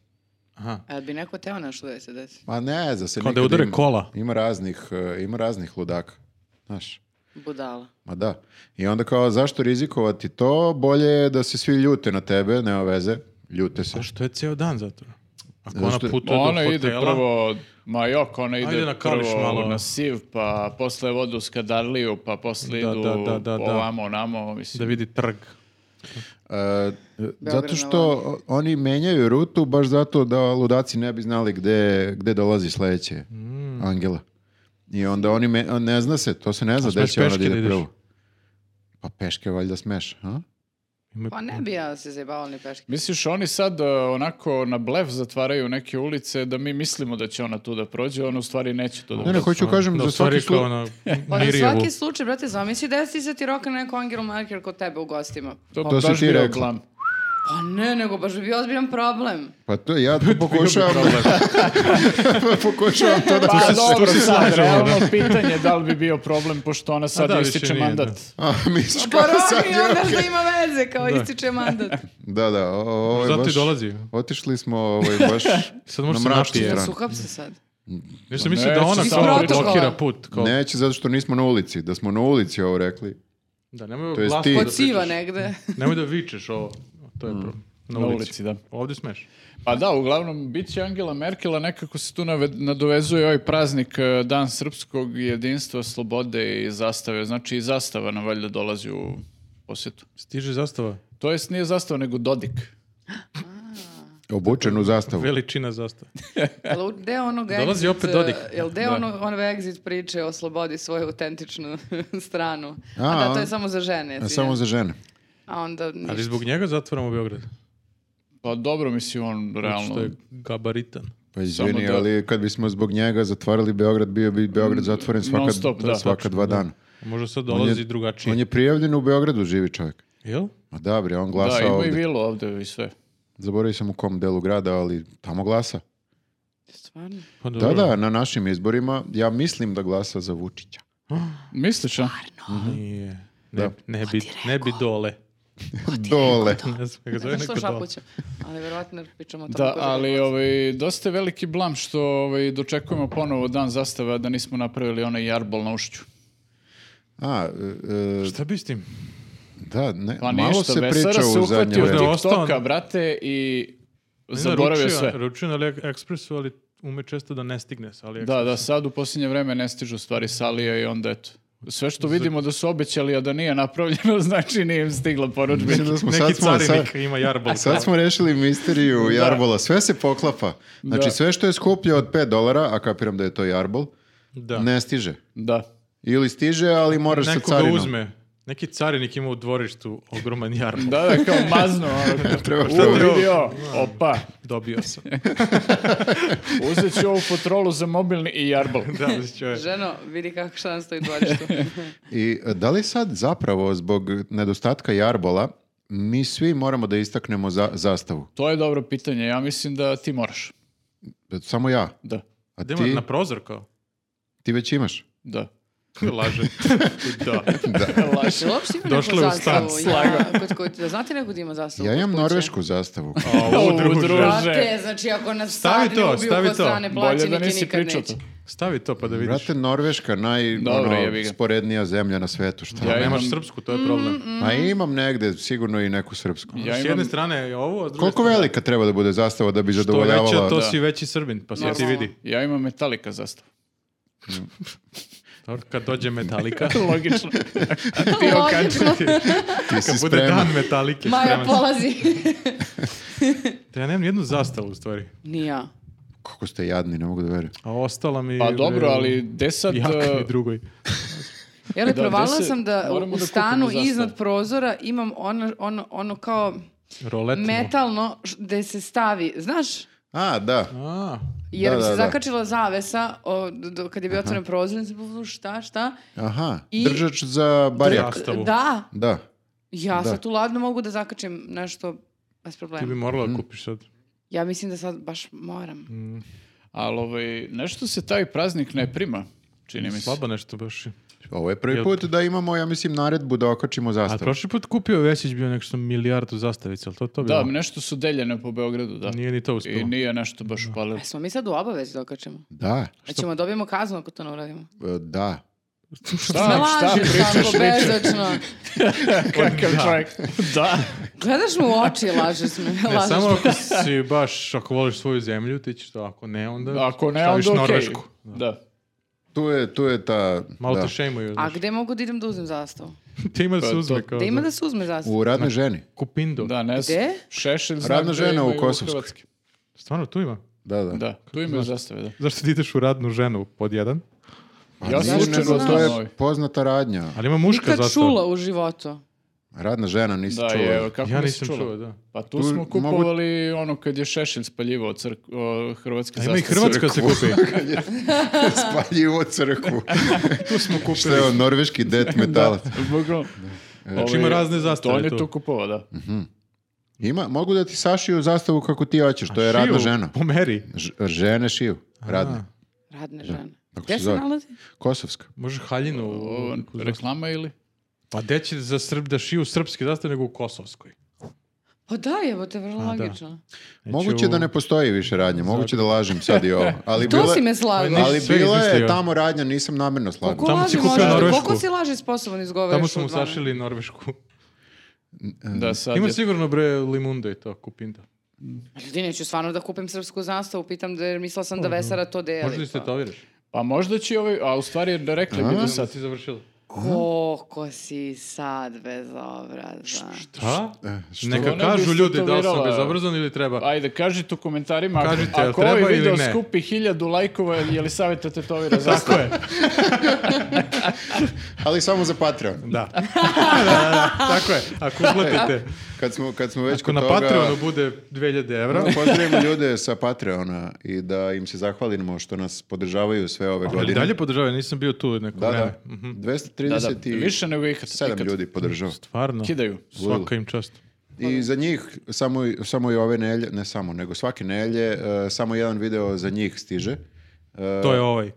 Aha.
A bi neko teo nešto da se desi?
Ma ne, za se
Kao da
nikad
udare
ima.
kola.
Ima raznih, e, ima raznih ludaka. Znaš,
Budala.
ma da. I onda kao, zašto rizikovati to? Bolje je da se svi ljute na tebe, nema veze. Ljute se.
Pa što je ceo dan zato? Ako
Zato
ona
što-
putuje do
Ona
hotela...
ide prvo, ma jok, ona ide
Ajde na Kališ
prvo
malo.
na Siv, pa posle vodu u Skadarliju, pa posle
Da,
idu
da, da, da, da.
ovamo, onamo, mislim.
Da vidi trg.
E, zato
na
što oni menjaju rutu baš zato da ludaci ne bi znali gde, gde dolazi sledeće
Mm.
Angela. I onda oni me- ne zna se, to se ne zna gde
smeš
će ona da
peške da
ide
ideš?
prvo. Pa peške valjda smeš, a?
Ima-
Pa ne bi ja se zajebala ni peške.
Misliš, oni sad e, onako na blef zatvaraju neke ulice da mi mislimo da će ona tu da prođe, ona u stvari neće tu da
Ne, ne,
prođe.
hoću kažem
Ono, Da,
za
u stvari
svaki
kao ono
slu...
ona
Pa za
Mirjevu.
svaki slučaj, brate, zamisli desi se ti roka neko Angelo Merkel kod tebe u gostima.
To,
to si
baš
ti
bio
rekla.
glam.
Pa ne, nego baš bi bio ozbiljan problem.
Pa to
(laughs)
ja to pokušavam, pokušavam to da...
Pa dobro,
tu se
sad,
slažemo,
realno pitanje da li bi bio problem, pošto ona sad
da, više
ističe
nije, da.
mandat.
A, (laughs) misliš
Pa
kao (laughs) sad
roka
je
onda
okej.
što ima veze, kao
Da.
ističe mandat.
Da, da, o- o- ovo je
Zato i
baš...
dolazi.
Otišli smo ovaj, baš
(laughs) Sad može
na
se
mračnu
napije.
Da
stranu.
suhap se sad.
Nešto mislio da ona
Neće,
samo
iz protokola.
blokira put. Kao,
Neće zato što nismo na ulici. Da smo na ulici ovo rekli.
Da, nemoj
To jest
glasno
ti. Mm.
da
Kod
Od siva
pričaš.
negde.
Nemoj da vičeš ovo. To je problem. Na,
Na
ulici.
ulici, da.
Ovdje smeš.
Pa da, uglavnom, bit će Angela Merkela, nekako se tu nave- nadovezuje ovaj praznik e, Dan srpskog jedinstva, slobode i zastave. Znači i zastava nam valjda dolazi u posjetu.
Stiže zastava.
To jest nije zastava, nego Dodik.
Obučen u zastavu.
Veličina zastava.
Jel u- Gde onog
(laughs) Dolazi
exit,
opet Dodik.
Jel gde
Da.
ono, onove exit priče o slobodi svoju autentičnu (laughs) stranu? A,
A,
da, to
on-
je samo za žene.
A
izvinjam.
samo za žene.
A onda ništa.
Ali zbog njega zatvaramo Beograd.
Pa dobro, mislim, on
Znači,
Zato Što
realno...
je gabaritan.
Pa izvini,
da-
ali kad bismo zbog njega zatvarali Beograd, bio bi Beograd zatvoren svaka,
Non stop, da.
svaka dva dana.
Možda sad dolazi
je-
drugačije.
On je prijavljen u Beogradu, živi čovjek.
Jel?
Ma da, bre, on
Da,
glasa
ima
ovdje.
i vilu ovdje i sve.
Zaboravio sam u kom delu grada, ali tamo glasa.
Stvarno?
Pa
Da,
dobro.
da, na našim izborima ja mislim da glasa za Vučića.
Misliš, a?
Nije. Ne,
Da.
Pa
ne, bi, ne bi dole.
Dole.
(laughs) Ne znam kako
Ne
zove
znam
neko
što
dole.
šapuća. Ali verovatno pričamo o tome.
Da,
ko je
ali
bilo.
ovaj, dosta je veliki blam što ovaj, dočekujemo ponovo dan zastave, a da nismo napravili onaj jarbol na ušću.
A, e, e,
Šta bi s tim?
da, ne,
Pa
malo
ništa,
se
Vesara
priča
se
u zadnje
uhvatio
Da,
vreme.
TikToka,
ostao-
brate, i
Ne,
zaboravio
ručio-
sve.
Ručio na AliExpressu, ali ume često da ne stigne sa AliExpressu.
Da, da, sad u posljednje vreme ne stižu stvari sa Alija i onda eto. Sve što vidimo da su obećali, a da nije napravljeno, (laughs) znači nije im stigla poručba.
(laughs) Mislim da smo, sad,
Neki
smo, sad,
carinik ima jarbol.
sad smo rešili misteriju Jarbola. Sve se poklapa. Znači
Da.
sve što je skuplje od 5 dolara, a kapiram da je to Jarbol,
Da.
ne stiže.
Da.
Ili stiže, ali moraš
Neko
sa
ga
carinom.
uzme. Neki carinik ima u dvorištu ogroman jarbol.
Da, da, kao mazno. Ono,
Treba
u,
što-
vidio, opa,
Dobio
(laughs)
sam.
uzet ću ovu potrolu za mobilni i jarbol.
da, mislim čovjek.
Ženo, vidi kako šan stoji u
(laughs)
dvorištu.
I e, da li sad zapravo zbog nedostatka Jarbola mi svi moramo da istaknemo za, zastavu?
To je dobro pitanje, ja mislim da ti moraš.
Samo ja.
Da,
A
Da ima
ti,
na prozor kao.
ti već imaš.
da.
(laughs)
Laže. da.
Jel uopšte ima
Došla je
neku
u stan,
zastavu? Ja, kod, kod, da znate neko da ima zastavu?
Ja
kod
imam
kuće?
norvešku zastavu.
A,
U,
Pa, udruže.
druže.
Brate, znači ako nas
Stavi
sad
to,
ne ubiju
stavi
kod
to.
strane
Bolje
plaće,
da nisi
nikad
pričao
neće.
to.
Stavi to pa da vidiš.
Brate, Norveška naj
Dobro,
ono,
jebi ga.
sporednija zemlja na svetu. Šta?
Ja
A
imam-
nemaš srpsku, to je problem.
A imam negde sigurno i neku srpsku.
Mm, Ja
S
imam-
jedne strane je ovo, a s druge
Koliko
strane-
velika treba da bude zastava da bi
Što veća,
zadovoljavala?
to
Da.
si veći srbin, pa se ti
Normalno.
vidi.
Ja imam metalika zastavu.
Dobro,
(laughs)
Kad dođe
(laughs)
metalika,
Logično.
Ti okačiti.
Ti si
kad bude
spreman.
dan metalike,
Maja
spreman sam.
polazi. (laughs)
Da ja nemam nijednu zastavu u stvari.
Ni ja.
Kako ste jadni, ne mogu da verujem.
A ostala mi...
Pa dobro,
e,
ali gde sad...
Jak
e,
mi drugoj.
Jel, da,
Da,
provalila
gde se-
sam da
moramo
u
da
stanu
kupimo zastavu.
iznad prozora imam ono, ono, ono kao
Roletno.
metalno š- gde se stavi, znaš,
A, da.
A,
jer
Da,
mi se
da, da.
zakačila zavesa o, d- d- kad je bio otvoren prozor, nisam povodila šta, šta.
Aha.
I-
Držač za barijak.
Zastavu.
Da,
Da.
ja
Da.
sad tu ladno mogu da zakačim nešto bez
ti bi
problema.
morala
Mm.
da kupiš sad.
Ja mislim da sad baš moram.
Ali ovaj, nešto se taj praznik ne prima, čini mi se.
Slabo nešto baš.
Ovo je prvi
Jel-
put da imamo, ja mislim, naredbu da okačimo
A
zastavu.
prošli put kupio Vesić bio nešto milijardu zastavica, ali to to bilo?
Da, nešto su deljene po Beogradu, da.
Nije ni to
I
uspjelo.
nije nešto baš upalilo.
E, smo mi sad u obavezi da okačimo.
Da,
E, ćemo dobijemo kaznu ako to ne uradimo.
e, da.
Ne
Šta, šta
lažeš,
pričaš,
Sanko, bezočno.
kakav čovjek. Da.
Gledaš mu u oči i lažeš me.
Ne,
lažeš
samo
me.
ako si baš, ako voliš svoju zemlju, ti ćeš to, ako ne, onda
Ako ne,
staviš
onda okej.
Norvešku.
Da.
Tu je, tu je ta...
Malo
da.
te šejmuju.
A
znaš.
gde mogu da idem da uzmem zastavu?
Ti ima da se
Pa,
uzme
to-
kao
Da ima
za-
da se uzme zastavu?
U radnoj ženi.
Kupindo.
Da, ne znam.
Gde?
Šešelj zna
Radna
gde
žena u
imaju
Kosovskoj.
Hrvatske.
Stvarno, tu ima.
Da, da.
Da, tu imaju zastave, da.
Zašto ti ideš u radnu ženu pod jedan?
Pa
Ja
nije,
slučajno
nego to
znam
ovaj.
je poznata radnja.
Ali ima muška
Nikad
zastava.
čula u životu.
Radna žena, nisi
Da,
čula.
je,
(laughs)
evo, kako
Ja
nisi
nisam
čula?
čuo, da.
Pa tu,
Tu
smo
mogu-
kupovali ono kad je Šešelj spaljivao crk, o, hrvatske
A ima i
zastave. (laughs)
Hrvatska se kupi.
Spaljivo crkvu.
(laughs) tu smo
Šta je on,
kupili.
norveški
(laughs)
det metalac?
Bukvalno. Ovaj,
Znači, ima razne zastave
On je
tu.
tu kupovao, da.
Ima, mogu da ti sašiju zastavu kako ti hoćeš, (laughs) to je radna
Šiju,
žena.
Pomeri.
Ž- žene šiju, radne.
Radne žene.
Kako
Gde
se
se
zove?
nalazi?
Kosovska.
Može haljinu.
Ovo,
neku zastavu.
E.
reklama ili?
Pa gde će za Srb da šiju srpske zastave nego u Kosovskoj?
Pa da, evo te, vrlo
A, da.
logično.
Moguće da ne postoji više radnje, moguće da lažem sad i ovo. Ali
To
bila-
si me slažeš.
Ali
Sve
bila je
izmislio.
tamo radnja, nisam namjerno slagao.
Koliko
Tamo si
laži
kupio
možeš,
Norvešku.
koliko si laži sposoban izgovoriš?
Tamo smo
u dva dana?
usašili Norvešku.
Da, sad
Ima
je-
sigurno bre Limundo i to, Kupinda.
Ljudi, neću stvarno da kupim srpsku zastavu, pitam da jer mislila sam da Vesara to deli.
Možda i
Pa.
stetoviraš.
Pa možda će ovaj, a u stvari da rekli bi
A?
da
Sad
sad.
si završila.
Pa- Koliko si sad bezobrazan.
Šta?
E, što-
Neka
Ona Ono bi
kažu ljudi da li sam
istetovirala-
bezobrazan ili treba.
Pa Ajde, kažite u komentarima ako-
Kažite, jel
ako ovaj
treba ili
video
ne?
skupi hiljadu lajkova, je li savjeta tetovira za
(laughs) Tako je.
Ali samo za Patreon. (laughs)
Da. da, da, da. Tako je. Ako uplatite,
Kad smo, kad smo već
ako
kod
na
E, toga...
Patreonu bude 2000 evra,
(laughs) Pozdravimo ljude sa Patreona i da im se zahvalimo što nas podržavaju sve ove
ali
godine.
dalje podržavaju, nisam bio tu neko
Da,
vreme.
da.
Mhm.
237
Da, da, više nego ikad. ikad.
ljudi podržava.
Stvarno.
Kidaju.
Svaka im čast.
I za njih samo, i- samo i ove nelje, ne samo, nego svake nelje, e, samo jedan video za njih stiže. E,
To je ovaj.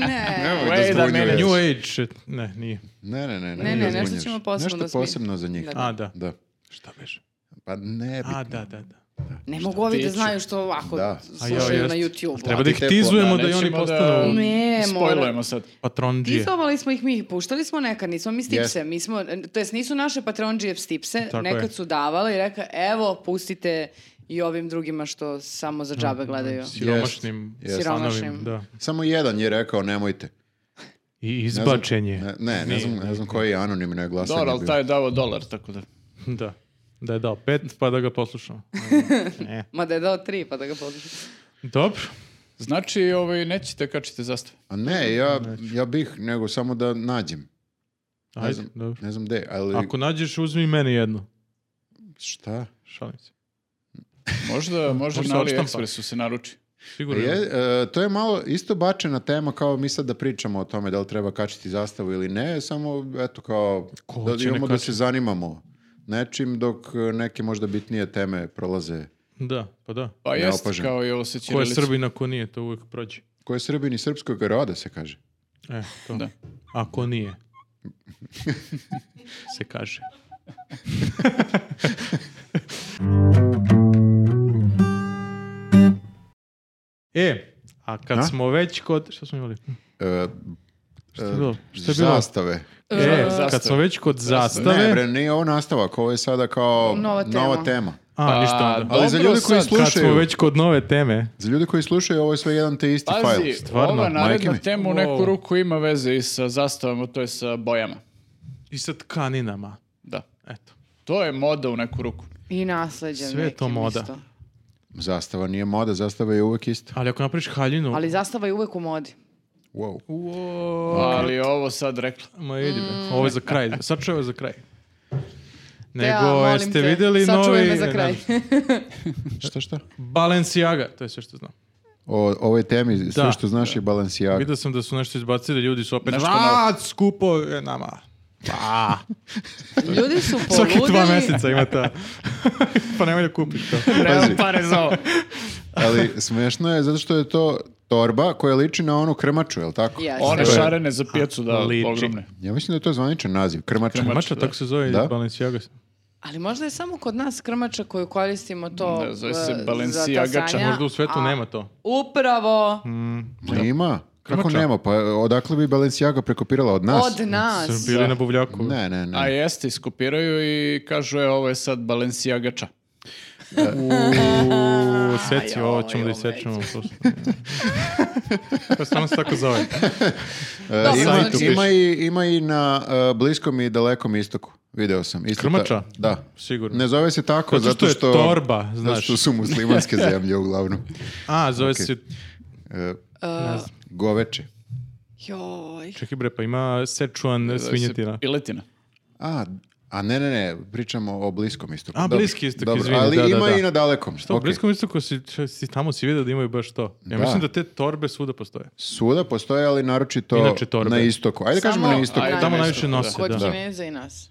ne.
Nemoj
Wait a
zbunjuješ.
minute.
New Age. shit. Ne, nije.
Ne, ne, ne.
Ne, ne,
da
nešto
zbunjuješ.
ćemo posebno
Nešto
da smi-
posebno za njih.
Da, da.
A, da.
Da.
Šta beže?
Pa ne bi.
A, da, da, da.
Ne mogu ovi da
tiče?
znaju što ovako
Da.
A ja,
slušaju
jest.
na YouTube.
Treba da ih
Platite
tizujemo
Da,
da i oni
nećemo da-
postanu Pa
Ne, mora-
Spojlujemo sad.
patronđije.
Tizovali smo ih mi, puštali smo nekad, nismo mi stipse, mi smo, to jest nisu naše Patreon stipse,
Tako
nekad
je.
su davale i reka, evo, pustite i ovim drugima što samo za
Mm.
džabe gledaju.
Znači,
Siromašnim.
Jest.
Siromašnim.
stanovim, Da.
Samo jedan je rekao nemojte.
I
Ne znam-
izbačen je.
Ne, ne, ne
Nije.
znam, ne znam koji je anonimno glasanje
Dobro, ali
bio.
taj je davo dolar, tako da.
(laughs) Da. Da je dao pet, pa da ga
(laughs)
poslušamo. ne. E,
Ma da je dao tri, pa da ga poslušam.
Dobro.
Znači, ovaj, nećete kačiti zastave.
A ne, ja, ja bih, nego samo da nađem. Ne
Ajde,
znam,
dobro.
ne znam gde, ali
Ako nađeš, uzmi i meni jedno.
šta?
Šalim se. (laughs)
Možda, možda
Možda
na
odštampa.
AliExpressu se naruči.
Sigurno.
Je, e, to je malo isto bačena tema kao mi sad da pričamo o tome da li treba kačiti zastavu ili ne, samo eto kao
Ko
da
će ne
imamo da se
kačiti?
zanimamo nečim dok e, neke možda bitnije teme prolaze.
Da, pa da.
Pa jeste
Neopažen.
kao i ovo
Ko
sa
je
Čirilicom.
Srbin, ako nije, to uvijek prođe.
Ko je srbin i srpskog roda se kaže.
E, to.
Da.
(laughs)
Ako nije. se kaže. e, a kad
A?
smo već kod... Šta smo imali?
E,
Šta
E,
je bilo? Šta je bilo?
zastave.
E,
Zastave.
kad smo već kod zastave...
Ne, bre, nije ovo nastavak, ovo je sada kao
Nova tema.
A,
Pa,
ništa onda.
Ali za
dobro
ljude koji
sad.
slušaju-
Kad smo već kod nove teme,
Za ljude koji slušaju, ovo je sve jedan te isti
Pazi,
fajl.
Stvarno,
ova
majke
naredna
mi.
tema u
Wow.
neku ruku ima veze i sa zastavama, to je sa bojama.
i sa tkaninama,
Da.
eto.
To je moda u neku ruku.
I nasleđen
Sve je to
nekim
moda.
isto.
Zastava nije moda, zastava je uvek ista.
Ali ako napraviš haljinu...
Ali zastava je uvek u modi.
Wow.
Wow.
Ali ovo sad rekla.
Ma idi
Mm.
bre, ovo je za kraj, sad ću ovo za kraj. Nego,
molim
jeste
te,
vidjeli
sačuvaj
novi...
me za kraj.
ne
(laughs)
znam,
Šta, šta?
Balenciaga, to je sve što znam.
O ovoj temi, sve
Da.
što znaš je Balenciaga.
Vidio sam da su nešto izbacili, ljudi su opet...
Nešto
"A, skupo je nama. Pa,
(laughs)
(laughs)
Ljudi su
svaki dva
poludeli.
meseca ima
(laughs)
ta. pa nemoj da kupiš to.
Pazi.
pare za (laughs) ovo.
Ali smešno je zato što je to torba koja liči na onu krmaču, je li tako?
Yes.
One
To je-
šarene za pijacu, da,
Liči.
ogromne.
Ja mislim da je to zvaničan naziv, krmača.
Mača, tako se zove
Da?
Balenciaga.
Ali možda je samo kod nas krmača koju koristimo to
Da, zove se
e, za
Balenciagača.
tasanja,
Možda u svetu
a
nema to.
Upravo
Ma Ima. Kako
Krmača.
nema? Pa odakle bi Balenciaga prekopirala od nas?
od nas.
Su bili
Da.
na buvljaku.
Ne, ne, E, ne.
A jeste, iskopiraju i kažu, je, ovo je sad Balenciagača.
U, seci,
Aj,
ovo
joj,
ćemo da
joj,
isečemo. posle. Pa stvarno se tako zove.
E,
Dobro,
ima,
znači-
ima, i, ima i na e, bliskom i dalekom istoku. Video sam. Isto ta-
Krmača?
Da.
Sigurno.
Ne zove se tako
Zato
zato
što
što...
je torba,
Zato
znaš.
što su
(laughs)
muslimanske zemlje uglavnom.
A, zove se...
E,
Ne znam.
goveče.
Joj.
Čekaj bre, pa ima Sečuan
Zove se
svinjetina.
Piletina.
A, a ne, ne, ne, pričamo o bliskom istoku.
A,
Dobro,
Bliski istok,
dobro,
izvini,
Ali
da, da,
ima
da.
i na dalekom.
Što u
Okej.
Bliskom istoku si, če- si tamo si vidio da imaju baš to. Ja
Da.
mislim da te torbe svuda postoje.
Svuda postoje, ali naročito
Inače torbe.
na istoku. Ajde
Samo-
kažemo na istoku.
Ajde.
Tamo
nešto,
najviše
(laughs) da.
nose,
Kod
da.
Kineza i nas.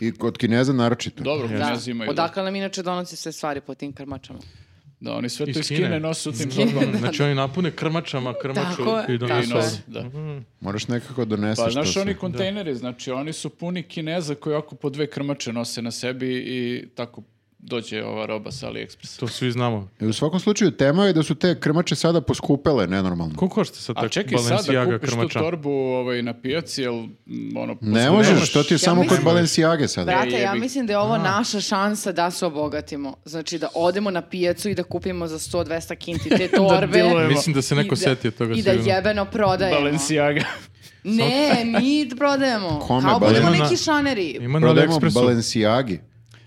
I kod Kineza naročito.
Dobro,
Da.
Kinezi imaju. da.
Odakle nam inače donosi sve stvari po tim krmačama.
Da, oni sve to iz
Iz
Kine
Kine.
nose u tim
Iz Kine.
torbama.
Znači oni napune krmačama, krmaču
Tako je,
i
I
donesu.
tako je.
nose, da.
Moraš nekako doneseš
Pa
to
znaš
sve.
oni kontejneri, znači oni su puni Kineza koji oko po dve krmače nose na sebi i tako dođe ova roba sa AliExpressa.
To svi znamo.
E, U svakom slučaju, tema je da su te krmače sada poskupele, nenormalno.
Koliko košta sad
A
tak
čekaj sad da
Balenciaga
kupiš
krmača?
tu torbu ovaj, na pijaci, jel m, ono...
Ne
posle-
možeš, to ti je samo kod
mislim-
Balenciage sada.
Brate, ja
jebi-
mislim da je ovo naša šansa da se obogatimo. Znači da odemo na pijacu i da kupimo za 100-200 kinti
(laughs)
te torbe.
dilujemo.
Mislim da se neko
I
setio toga
I da
sigurno.
jebeno prodajemo.
Balenciaga.
Ne, mi prodajemo.
(laughs) Kome
Kao budemo
Balenciaga?
neki šaneri.
Ima na
Prodajemo
AliExpressu.
Balenciagi.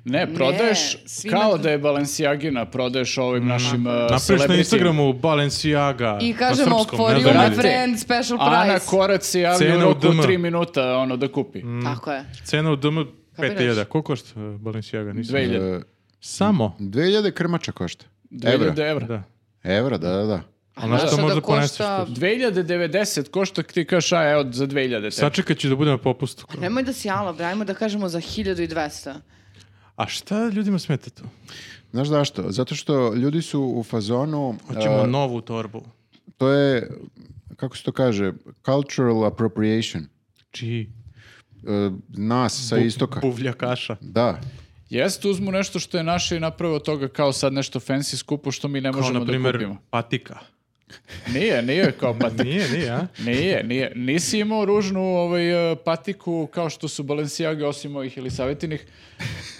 Ne, prodaješ
svi
kao
na-
da je Balenciagina, prodaješ ovim našim uh,
Mhm. Napraviš na
celebritima.
Instagramu Balenciaga.
I
na
kažemo,
srpskom,
for
ne
you
znam,
my
Brate,
friend, special
Ana
price.
Korac se javlja u
Cena u Mhm.
roku
DM.
3 minuta ono, da kupi.
Tako je.
Cena u DM 5000.
Kapiraš?
Koliko košta e, Balenciaga? Nisam.
2000.
E,
Samo.
2000 krmača košta. Evra.
2000 evra.
Da.
Evra, da, da, da.
A znaš
naša
što
da
možda poneseš?
košta-
tu?
2090 košta ti kažeš, a evo, za 2000. te.
Sačekat ću da budem na popustu.
Nemoj da si jala, bre, ajmo da kažemo za (laughs) 1200.
A šta ljudima smeta tu?
Znaš zašto? Zato što ljudi su u fazonu,
Hoćemo
e,
novu torbu.
to je, kako se to kaže, cultural appropriation.
Čiji?
E, nas sa
Bu-
istoka.
Buvljakaša.
Da.
Jeste, uzmu nešto što je naše i naprave od toga kao sad nešto fancy skupo što mi ne
Kao,
možemo
na
da
primjer,
kupimo.
patika.
Nije, nije
(laughs)
kao patika.
Nije, nije, a?
Nije, nije. Nisi imao ružnu ovaj, eh, patiku kao što su Balenciaga osim ovih ili savjetinih,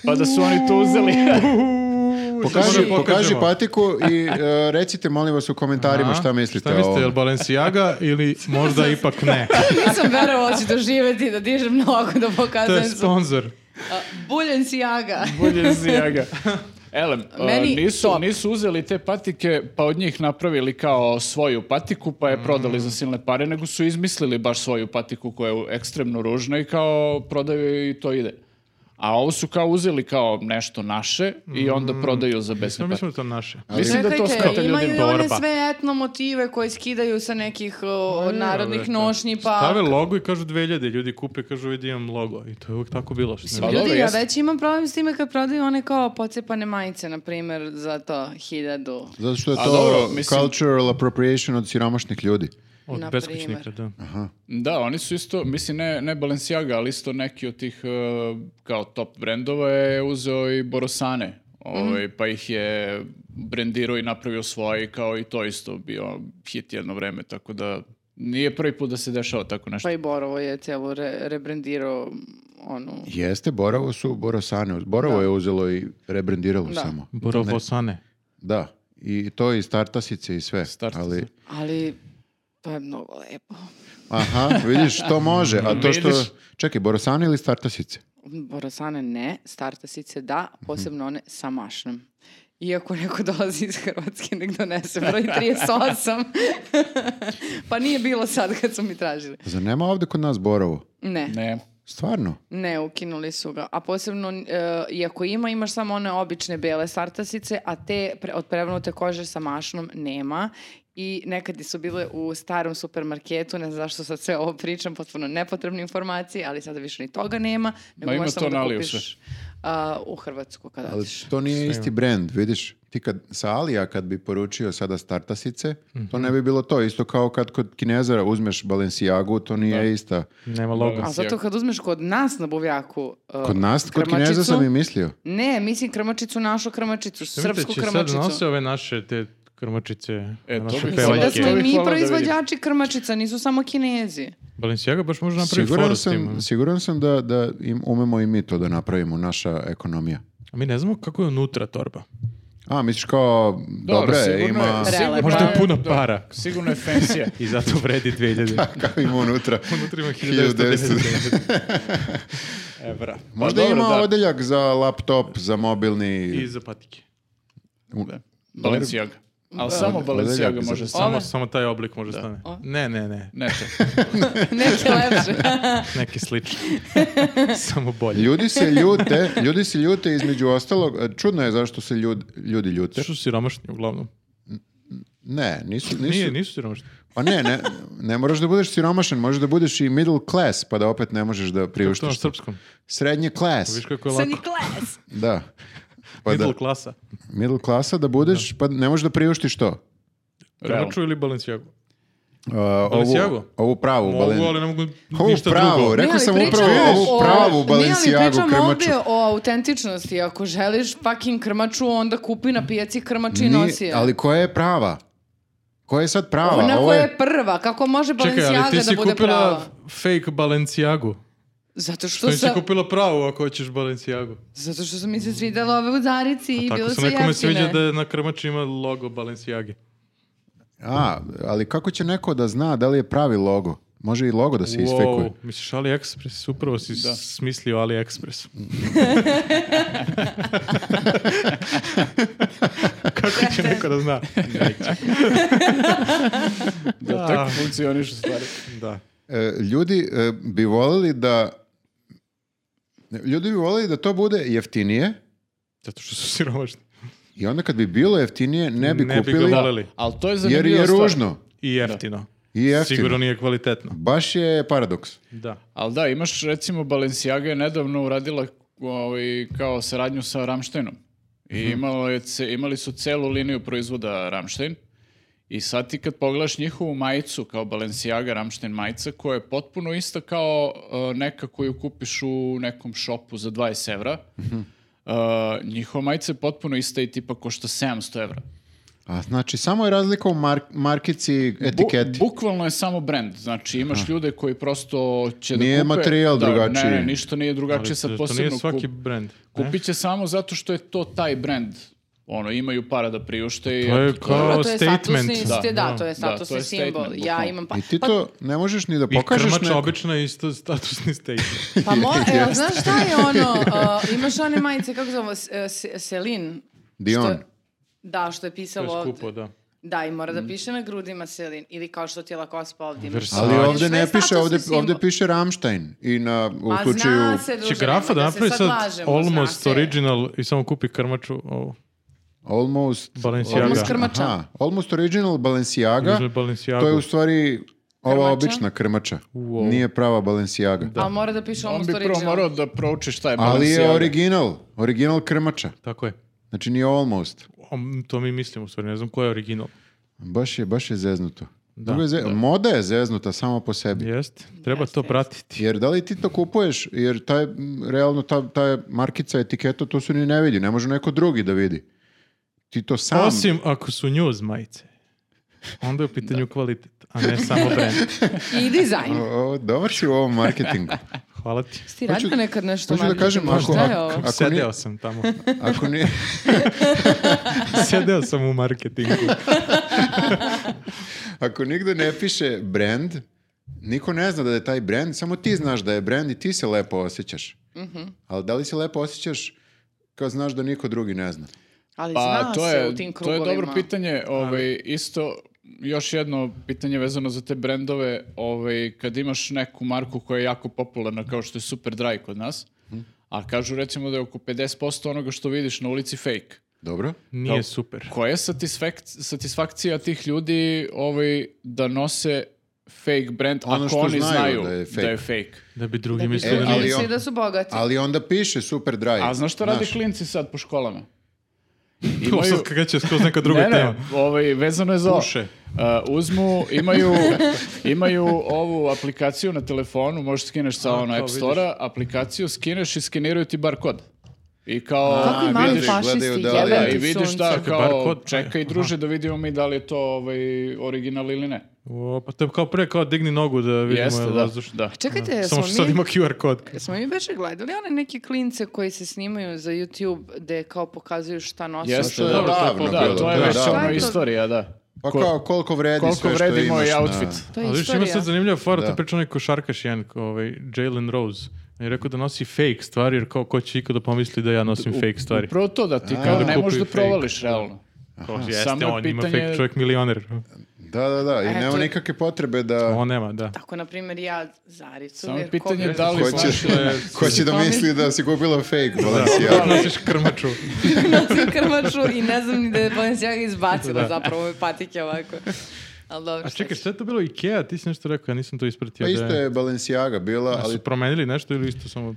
pa da su oni to uzeli.
(laughs)
Pokaži,
Pokažemo.
pokaži patiku i e, recite molim vas u komentarima
A?
šta mislite.
Šta
o
mislite,
ovom.
je li Balenciaga ili
(laughs)
možda ipak ne?
Nisam verovala da ću doživjeti da dižem nogu da
To je
pokazujem su.
sponsor.
Balenciaga.
Balenciaga. Elem,
(laughs)
eh,
Meni
nisu,
top.
nisu uzeli te patike pa od njih napravili kao svoju patiku pa je prodali za silne pare, nego su izmislili baš svoju patiku koja je ekstremno ružna i kao prodaju je i to ide. A ovo su kao uzeli kao nešto naše i onda prodaju za
Sve
besne pare.
mislim da je to naše.
Mislim da to smeta
Čekajte, imaju
ljudima.
i one
Torba.
sve etno motive koje skidaju sa nekih o,
Pa je,
narodnih
brate.
nošnji, pa...
Stave logo i kažu 2000, ljudi kupe, kažu vidi imam logo. I to je uvijek tako bilo. Što
Pa
ne-
Ljudi,
dobro,
ja
jeste.
već imam problem s time kad prodaju one kao pocepane majice, na primjer, za to hiljadu.
Zato što je
A
to
dobro, mislim-
cultural appropriation od siromašnih ljudi.
Od
na
beskućnika, da.
Da, oni su isto, mislim ne, ne Balenciaga, ali isto neki od tih eh, kao top brendova je uzeo i Borosane, ovaj,
Mhm.
pa ih je brendirao i napravio svoje i kao i to isto bio hit jedno vreme, tako da nije prvi put da se dešava tako nešto.
Pa i Borovo je cijelo re, rebrendirao ono, onu...
Jeste, Borovo su Borosane. Borovo je uzelo i rebrandiralo
Da.
samo.
Borovosane.
Da. I to i startasice i sve.
Startasice.
Ali,
Ali to je mnogo lepo.
aha, vidiš, to može. A to što...
Vidiš?
Čekaj, Borosane ili startasice?
Borosane ne, startasice da, posebno one sa mašnom. Iako neko dolazi iz Hrvatske, nek donese broj 38. (laughs) pa nije bilo sad kad su mi tražili.
Zar nema ovdje kod nas Borovo?
Ne, ne,
Ne,
Stvarno?
ukinuli su ga. A posebno, e, iako ima, imaš samo one obične bele startasice, a te pre, od prevnute kože sa mašnom nema. I nekad su bile u starom supermarketu, ne znam zašto sad sve ovo pričam, potpuno nepotrebne informacije, ali sada više ni toga nema. Nego
Ma ima
možeš samo
to na
da
Aliju
kupiš a, u Hrvatsku kada
Ali
odeš.
to nije isti brand, vidiš? Ti kad, sa Alija kad bi poručio sada startasice, to
Mhm.
ne bi bilo to. Isto kao kad kod Kinezara uzmeš Balenciagu, to nije ista.
Nema logo.
A zato kad uzmeš kod nas na buvljaku uh,
pa Kod nas, kod
krmačicu-
Kineza sam i mislio.
Ne, mislim krmačicu, našu krmačicu, srpsku
Mislite, će sad
krmačicu.
nose ove naše te krmačice,
E, to
naše
bih
Mislim da
pevaljke.
smo i
To bih
mi
voleo da vidim.
proizvođači krmačica, nisu samo kinezi.
Balenciaga baš može napraviti
Siguran
foru s tim. ono.
sam, siguran sam da, da im, umemo i mi to da napravimo, naša ekonomija.
A mi ne znamo kako je unutra torba.
A, misliš kao, dobro, je,
sigurno
ima,
je-
(laughs)
sigurno
Možda je
puna
E, da,
para.
Sigurno je fancy.
I zato vredi 2000.
kako ima
(laughs)
unutra.
unutra ima
1990.
1990. Evra.
Možda
Pa dobro,
ima
da.
odeljak za laptop, za mobilni...
I za patike.
Balenciaga. Ali samo Balenciaga može
Samo,
samo...
samo taj oblik može stane. Ne, ne, ne.
Ne, to.
Neke lepše.
Neki
(laughs)
slični. samo bolji.
Ljudi
(laughs)
se ljute, ljudi se ljute između ostalog, e, čudno je zašto se ljud- ljudi ljute.
Što su siromašni uglavnom?
Ne, nisu, nisu,
Nije, nisu siromašni.
pa ne, ne, ne moraš da budeš siromašan, možeš da budeš i middle class, pa da opet ne možeš da
Što na
priuštiš.
srpskom?
Srednje class,
Viš kako je
Sa ni
lako.
kles.
da. Pa
Middle
da,
klasa.
middle klasa da budeš, pa ne možeš da priuštiš to.
Realno.
Kanaču ili Balenciagu?
Uh, ovu,
Balenciagu?
ovu pravu.
Mogu,
Balen-
ali ne mogu
Ovu
ništa
pravu,
drugo.
Ne,
rekao
ali
sam
pričamo
upravo ovu
o-
pravu
Ne, ali
Balenciagu
pričamo
krmaču.
ovde o autentičnosti. Ako želiš fucking krmaču, onda kupi na pijaci krmači i
Ni-
nosi je.
ali koja je prava? Koja je sad prava?
Ona
Ovo
koja
je...
je prva, kako može
Čekaj, ali
Balenciaga
ti
da
si
bude prava?
kupila fake Balenciagu.
Zato što,
Što nisi
sam,
kupila pravu ako hoćeš Balenciagu?
zato što su mi se svidjela ove udarici i
Pa Tako
bile
se
su
nekome
jeftine.
sviđa da je na krmači ima logo Balenciagi.
A, ali kako će neko da zna da li je pravi logo? Može i logo da se isfekuje.
misliš AliExpress, upravo si
Da.
smislio
(laughs)
AliExpress. (laughs) Kako će neko da zna?
Da, tako funkcioniš u stvari.
Da.
E, ljudi e, bi voljeli da ljudi bi voljeli da to bude jeftinije
Zato što su siromašni.
i onda kad bi bilo jeftinije ne bi
Ne bi ga
kupili
voleli.
Ali to je
jer
zanimljiva
je
stvar.
ružno
I jeftino.
i jeftino.
Sigurno nije kvalitetno.
Baš je paradoks.
Da.
Ali da, imaš recimo Balenciaga je nedavno uradila ovaj, kao saradnju sa Ramšteinom. I imalo je, ce- imali su celu liniju proizvoda Ramštein. I sad ti kad pogledaš njihovu majicu kao Balenciaga Ramštein majica koja je potpuno ista kao e, neka koju kupiš u nekom šopu za 20 evra, e, njihova majica je potpuno ista i tipa košta 700 evra.
A znači samo je razlika u mark, markici, etiketi.
Bu- bukvalno je samo brand. Znači imaš ljude koji prosto će
Nije
da kupe...
materijal
da,
drugačiji.
Ne, ne, ništa nije drugačije.
Ali
Sad
to- to
posebno
nije svaki
kup-
brand. ne?
kupit će samo zato što je to taj brand. Ono, imaju para da priušte i...
To je
Dobro,
kao
to je
statement.
statusni, da, da, to je
to
statusni
je
simbol.
statement,
Ja
bukvalno.
imam pa...
I ti
pa-
to ne možeš ni da
I
pokažeš
krmač
neko-
obična je isto statusni
(laughs)
statement.
Pa mo, e, ali znaš
(laughs)
šta je ono, uh, imaš one majice, kako zovemo, Selin.
Dion.
da, što je
To je
pisalo
skupo,
ovde.
da.
Da, i mora
Mm.
da piše na grudima Selin. Ili kao što ti lakospa ovdje imaš.
Versace.
Ali
Znači,
ovdje
Sve je
ne piše,
statusni
ovdje,
simbol.
ovdje piše Ramstein i na, u
Ma
slučaju...
zna se, druže,
Će grafa da
nemoj se
napravi sad
lažemo, zna
almost
se.
original i samo kupi krmaču ovo.
Almost...
Balenciaga.
Almost krmača.
Aha, almost original Balenciaga.
Original Balenciaga.
To je u stvari ova
Krmača.
obična krmača.
Wow.
Nije prava Balenciaga.
Ali mora da piše
On
almost
bi prvo
original.
morao da prouči šta je
Ali
Balenciaga.
je original. Original krmača.
Tako je.
Znači nije almost.
Om, To mi mislimo u stvari, ne znam ko je original.
Baš je, baš je zeznuto. Drugo je ze- Moda je zeznuta samo po sebi.
Jeste, treba to pratiti.
Jer da li ti to kupuješ, jer taj, m, realno ta, ta markica, etiketa, to su ni ne vidi, ne može neko drugi da vidi. Ti to sam...
Osim ako su news majice. Onda je u pitanju kvalitet, a ne samo brand.
I dizajn.
O, o, dobar si u ovom marketingu.
Hvala ti.
Ti
Hoću-
radio nekad nešto
hoću da
marketingu?
kažem, ako-
Šta je
ako-
ovo?
nije-
Sedeo sam tamo.
Ako nije...
Sedeo sam u marketingu.
(laughs) Ako nigde ne piše brand, niko ne zna da je taj brand, samo ti znaš da je brand i ti se lepo osjećaš. Ali da li se lepo osjećaš kad znaš da niko drugi ne zna?
Ali
Pa
zna
to
se
je,
u tim
to je
krugovima.
dobro pitanje. Ovaj, isto, još jedno pitanje vezano za te brendove. Ovaj, kad imaš neku marku koja je jako popularna, kao što je Superdry kod nas,
Mhm.
a kažu recimo da je oko 50% onoga što vidiš na ulici fake.
Dobro?
Nije super.
Koja je satisfak- satisfakcija tih ljudi ovaj, da nose fake brand
Ono
ako
što
oni
znaju
znaju
da
da
je fake.
je fake?
Da bi drugi
Da bi
mislili
drugi
da
E, ali
nije.
mislili
on-
da su bogati.
Ali onda piše super drive.
A znaš šta rade klinci sad po školama?
E,
To sad kada će skroz neka druga
ne, ne,
tema.
ovaj, vezano je za ovo.
Puše.
Uh, uzmu, imaju, imaju ovu aplikaciju na telefonu, možeš skineš sa
A,
ono
kao
App
vidiš.
Store-a, aplikaciju skineš i skeniraju ti bar kod. I kao...
Kakvi mali
vidiš,
fašisti,
gledaju da li je-
jebem
Da,
ti
i vidiš da
sunce.
kao,
barkod,
čekaj
aha.
druže da vidimo mi da li je to ovaj, original ili ne.
O, pa to je kao pre, kao digni nogu da vidimo
Jeste,
je
da,
vazdušno.
da.
Čekajte, smo
Samo što sad
mi-
ima QR kod.
Smo mi beše gledali one neke klince koji se snimaju za YouTube gde kao pokazuju šta nose.
Jeste,
je
da,
davno
da,
bilo,
to je
to je
već
davno
ono
bilo.
istorija, da.
Pa
Ko-
kao koliko vredi
koliko
sve što
vredi
imaš
moj
na-
outfit?
To je
Ali više ima
istorija.
sad zanimljiva fora,
Da.
to je pričao neko šarkaš jedan, kao ovaj, Jalen Rose. On je rekao da nosi fake stvari, jer kao ko će ikada pomisli da ja nosim fake stvari.
Upravo to da ti kao
da
ne možeš
kupuju
da
fake.
provališ realno.
Kao, jeste,
Samo je
on ima
pitanje-
fake čovjek milioner.
Da, da, da. I
E,
nema
to je-
nikakve potrebe da...
On nema, da.
Tako, na primjer, ja Zaricu.
Samo
jer
pitanje
koga-
je da li
Ko će,
Pomašila
(laughs) ko će da misli da si kupila fake Balenciaga?
Da, nosiš krmaču.
nosim krmaču i ne znam ni da je Balenciaga izbacila zapravo ove patike ovako. Ali dobro,
A
šta
čekaj,
ćeš.
sve je to bilo Ikea, ti si nešto rekao, ja nisam to ispratio.
Pa
da
isto je Balenciaga bila,
Da
ali
su promenili nešto ili isto samo...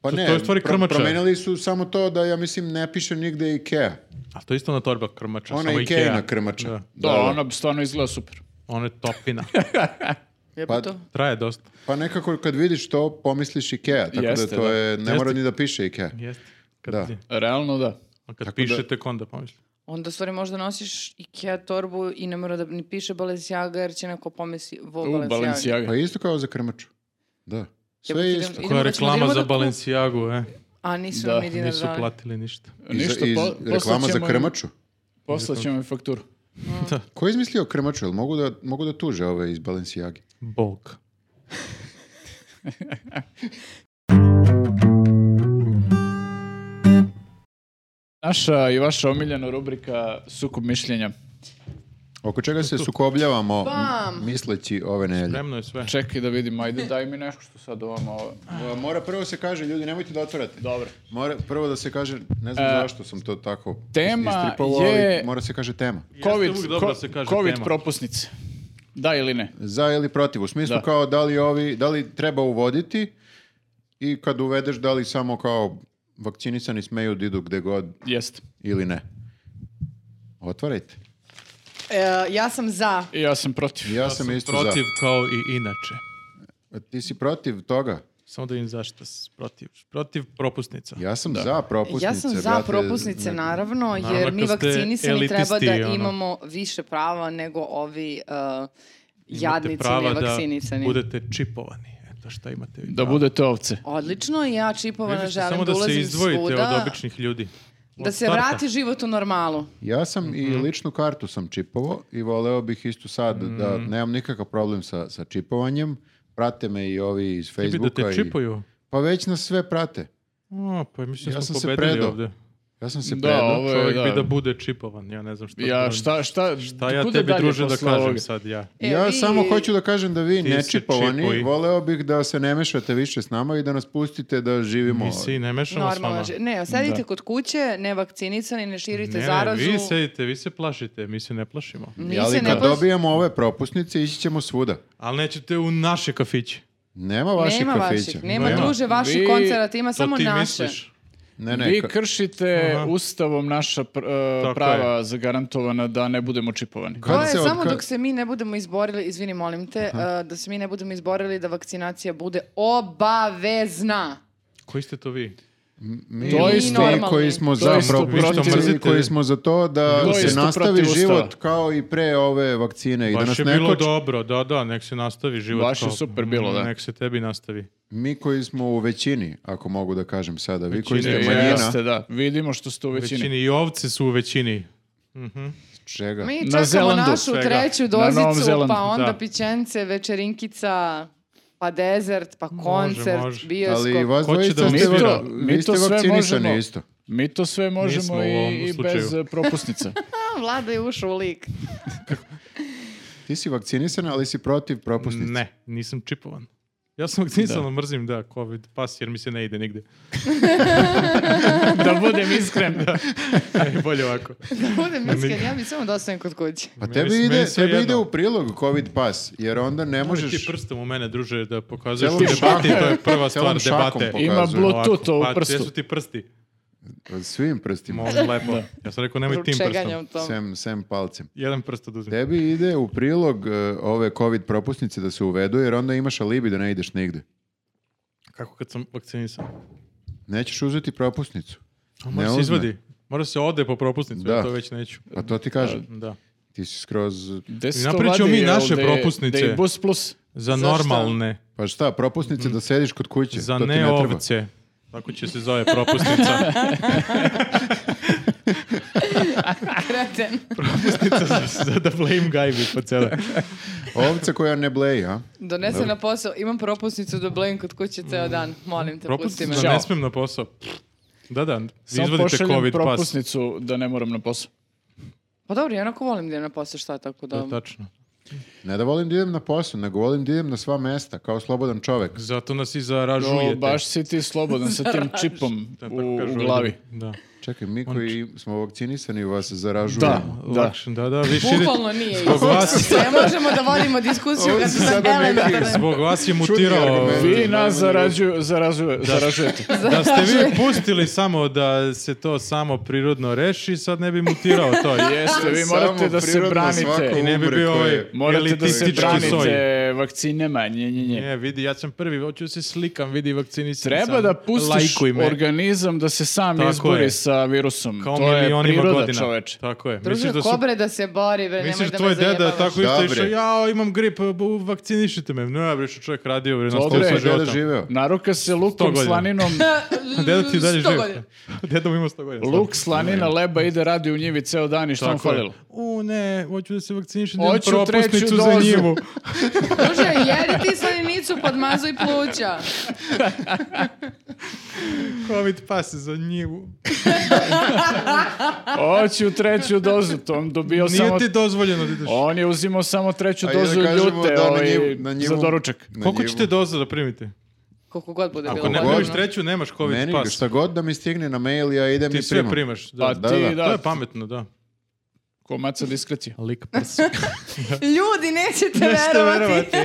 Pa
To-
ne,
to je u stvari krmača.
promenili su samo to da, ja mislim, ne piše nigde Ikea.
A to je isto na torba krmača,
Ona
samo
je
Ono Ikea.
Ikeina krmača.
Da.
Da, ona stvarno izgleda super.
Ona je topina.
Pa-
Jebo to.
Traje dosta.
Pa nekako kad vidiš to, pomisliš Ikea, tako
Jeste,
da to
da.
je, ne mora ni da piše Ikea.
Jeste. Kad,
Da.
Realno da.
A kad piše, tek onda pomisli.
Onda u stvari možda nosiš Ikea torbu i ne mora da ni piše Balenciaga jer će neko pomisli vo
U,
Balenciaga.
Pa
Balenciaga.
isto kao za krmaču. Da.
Ja
Sve
bih
je
ti
isto.
da-
Koja
Idemo
je
da ćemo da
reklama
znači, idemo
za
da kup-
Balenciagu, e?
A nisu
Da,
da, mi dinar
Nisu
dali.
platili ništa.
I za-
Ništa,
i
po-
reklama
poslaćemo
za
im-
krmaču.
Poslaćemo im fakturu.
Ko je izmislio krmaču? Jel mogu da, mogu da tuže ove iz Balenciagi?
Bog.
Naša i vaša omiljena rubrika Sukup mišljenja.
Oko čega se sukobljavamo
Bam!
m- misleći ove nelje?
Spremno je sve.
Čekaj da vidim, ajde daj mi nešto što sad ovamo ovo.
Pa Mora prvo se kaže, ljudi, nemojte da otvarate.
Dobro.
Mora prvo da se kaže, ne znam zašto sam to tako
tema
istripovao,
je-
ali mora se kaže tema.
Covid,
uvijek dobro
ko-
da se kaže
COVID
tema.
propusnice. Da ili ne?
Za ili protiv, u smislu
Da.
kao da li, ovi, da li treba uvoditi i kad uvedeš da li samo kao vakcinisani smeju da idu gde god
Jeste.
ili ne. Otvarajte.
E, ja sam za.
I ja sam protiv.
Ja, sam, isto
protiv kao i inače.
za. Ti si protiv toga?
Samo da im zašto si protiv. Protiv propusnica.
Ja sam za propusnice.
ja sam za
brate.
propusnice, naravno,
Naravno,
jer mi
ako ste
vakcinisani treba da
elitisti, ono.
imamo više prava nego ovi uh,
Imate
jadnici
prava
nevakcinisani.
da budete čipovani. Eto šta imate. vi
Da
pravo.
budete ovce.
Odlično, i ja čipovana
Vidite,
želim
samo
da
da se
ulazim
izdvojite
svuda,
od običnih ljudi.
da
Od
se
starta.
vrati život u normalu.
Ja sam i ličnu kartu sam čipovo i voleo bih isto sad da nemam nikakav problem sa, sa čipovanjem. Prate me i ovi iz
Ti bi da
Facebooka.
te
i-
čipuju.
Pa već nas sve prate.
O, pa mislim
Ja
smo
sam se
pobedili
predao.
ovde.
Ja sam se
Da,
predao.
ovo je-
Čovjek
da.
bi da bude čipovan. Ja ne znam šta.
Ja
da-
šta, šta,
Šta ja
kuda
tebi
dalje
druže da
posle
kažem
ovoga?
sad ja?
E,
ja
vi-
samo hoću da kažem da vi
Ti
ne
se
čipovani,
čipuj.
voleo bih da se ne mešate više s nama i da nas pustite da živimo.
Mi se i ne mešamo s vama.
Normalno. ži- Ne, sedite kod kuće, nevakcinisani, ne širite
ono. Ne, ne,
zarazu.
vi sedite, vi se plašite, mi se ne plašimo.
Mi
Ali
se
kad
ne plaš-
dobijemo ove propusnice, ići ćemo svuda.
Ali nećete u naše kafiće.
Nema vaših
nema
kafića.
vaših, nema
Nema.
druže vaših
Vi-
koncerata, ima
To
Pa samo
ti
naše.
misliš.
Ne, ne,
Vi
ka-
kršite
Aha.
ustavom naša pr- e,
Tako
prava zagarantovana da ne budemo čipovani.
To
kad
je
se od-
samo
ka-
dok se mi ne budemo izborili, izvini molim te, uh, da se mi ne budemo izborili da vakcinacija bude obavezna.
Koji ste to vi?
Mi,
To
mi
isto-
koji smo
To
za
isto
protiv-
propusnice i
mrzite-
koji smo za to da
To
se
isto
nastavi
protiv ustava.
život kao i pre ove vakcine i da
Baš
nas
je
ne
bilo
koči.
dobro, da, da, nek se nastavi život.
Baš je
kao-
super bilo, da.
Nek se tebi nastavi.
Mi koji smo u većini, ako mogu da kažem sada, vi koji ste
Većini,
manjina,
Jeste, da. Vidimo što ste u
U
većini.
većini i ovce su u većini.
čega?
Mi
Na
čekamo
Zelandu
našu
svega.
treću
Na Novom
dozicu,
Zelandu,
pa onda
da.
pićence, večerinkica, pa dezert, pa koncert,
može.
bioskop.
Ali vas
Ko će
dvojica
da
ste,
usvira?
va-
Mi to- mi
vi ste
to sve možemo.
vakcinisani isto.
Mi to sve
Nismo
možemo
u ovom
i, i bez
slučaju.
e, (laughs) propusnica.
A, Vlada je ušao u lik.
Ti si vakcinisan, ali si protiv propusnice.
Ne, nisam čipovan. Ja sam vakcinisan, ali mrzim da COVID pas jer mi se ne ide nigde.
da budem iskren.
(laughs) E, bolje ovako.
Da budem iskren, ja bi samo da ostavim kod kuće.
Pa
Meni-
tebi, ide,
meni sve
tebi
jedno.
ide u prilog COVID pas, jer onda ne
Možeš... Ti
možeš...
prstom u mene, druže, da pokazuješ
Celom
ti
(laughs)
debati,
šakom-
to je prva stvar
celom šakom
debate.
pokazuje.
Ima Bluetooth
Ovako, pa,
u prstu.
Jesu ti prsti?
Svim prstima,
Molim, lepo. Ja sam rekao, nemoj tim prstom.
Ručeganjem tom.
sem, sem palcem.
Jedan prst oduzim.
Tebi ide u prilog e, ove COVID propusnice da se uvedu, jer onda imaš alibi da ne ideš nigde.
Kako kad sam vakcinisan?
Nećeš uzeti propusnicu.
A mora
Ne
se
uzme.
izvadi. Mora se ode po propusnicu,
Da.
ja to već neću.
Pa to ti kažem.
Da.
Ti si skroz...
Napravit ćemo mi naše propusnice.
Da i bus plus.
Za
Zašto?
normalne,
Pa šta, propusnice da sediš kod kuće.
za
to ti ne,
ne
treba.
ovce. Tako će se zove propusnica.
Kreten.
propusnica za, (laughs) za da blame gajbi po cele.
Ovca koja ne bleji, a?
Donese na posao, imam propusnicu do blejim kod kuće ceo dan. Molim te, pusti me.
Propusnica da
Ćao.
ne smem na posao. Da, da, vi
Samo
izvadite
pošaljem
covid pas.
propusnicu da ne moram na posao.
Pa dobro, ja onako volim da je na posao šta tako da...
To je tačno.
Ne da volim da idem na posao, nego volim da idem na sva mesta, kao slobodan čovek.
Zato nas i
O,
zaražujete.
baš si ti slobodan sa tim čipom
Da, tako
u, u
kažu
glavi.
ljudi. Da.
Čekaj, mi koji smo vakcinisani vas zaražujemo.
Da.
Lakše, da, da, vi širite.
Bukvalno nije.
Zbog vas, (laughs)
Ne možemo da vodimo diskusiju
Ovo
kad
su
su sad
sada neki-
elementarne.
zbog vas je
Čudni
mutirao.
argument.
Vi nas zarađuju, zaražuje, zaražujete.
Da ste vi pustili samo da se to samo prirodno reši, sad ne bi mutirao to.
Jeste,
(laughs)
vi
Samo
morate da se
prirodno svako
branite.
I ne bi
umre
bio
koje-
ovaj-
Morate da se
elitistički
branite
soj.
vakcinama, nje, nje, nje.
Ne, vidi, ja sam prvi, hoću da se slikam, vidi vakcinisan
Treba
sam.
da pustiš
Lajkuj me.
organizam da se sam
Tako
izbori
je.
sa virusom.
Kao
to je
milionima
priroda
godina.
čoveče.
Tako je.
Druže,
Misliš da su
kobre da se bori, bre, nemoj
Misliš,
da me
tvoj deda je
zajebavaš.
tako
Da,
isto
bre.
išao, ja imam grip, bu- vakcinišite me. Ne, bre, što čovjek radio, bre,
Dobre.
nastavio sa
Koliko je deda
životom.
živeo?
Naruka se lukom
godina. (laughs)
slaninom,
Deda ti dalje
Sto
živio.
godina.
(laughs) Deda mu ima 100 godina.
luk slanina leba ide radi u njivi ceo dan i što mu
Tako je.
falilo?
U, ne, hoću da se vakcinišem, da imam
Hoću treću
propusnicu za
dozu.
njivu.
Druže, jedi ti slaninicu, podmazuj pluća.
(laughs) Covid pas za njivu.
Hoću treću dozu, to on dobio
Nije
samo...
ti dozvoljeno da ideš.
On je uzimao samo treću
Ajde da
dozu
kažemo
ljute
da na
ovaj,
njivu- na
za
njivu-
doručak.
na
Koliko
njivu.
ćete doza da primite?
Koliko god bude bilo.
Ako ne
Koliko
primiš
god.
treću, nemaš Covid
Meni
pas.
šta god da mi stigne na mail, ja idem i
Ti sve
primam.
primaš. Da.
Pa
Da,
ti,
da.
da,
To je pametno,
(laughs)
da.
komaca diskrecija.
Lik pas.
Ljudi, nećete
Nećete
verovati.
verovati.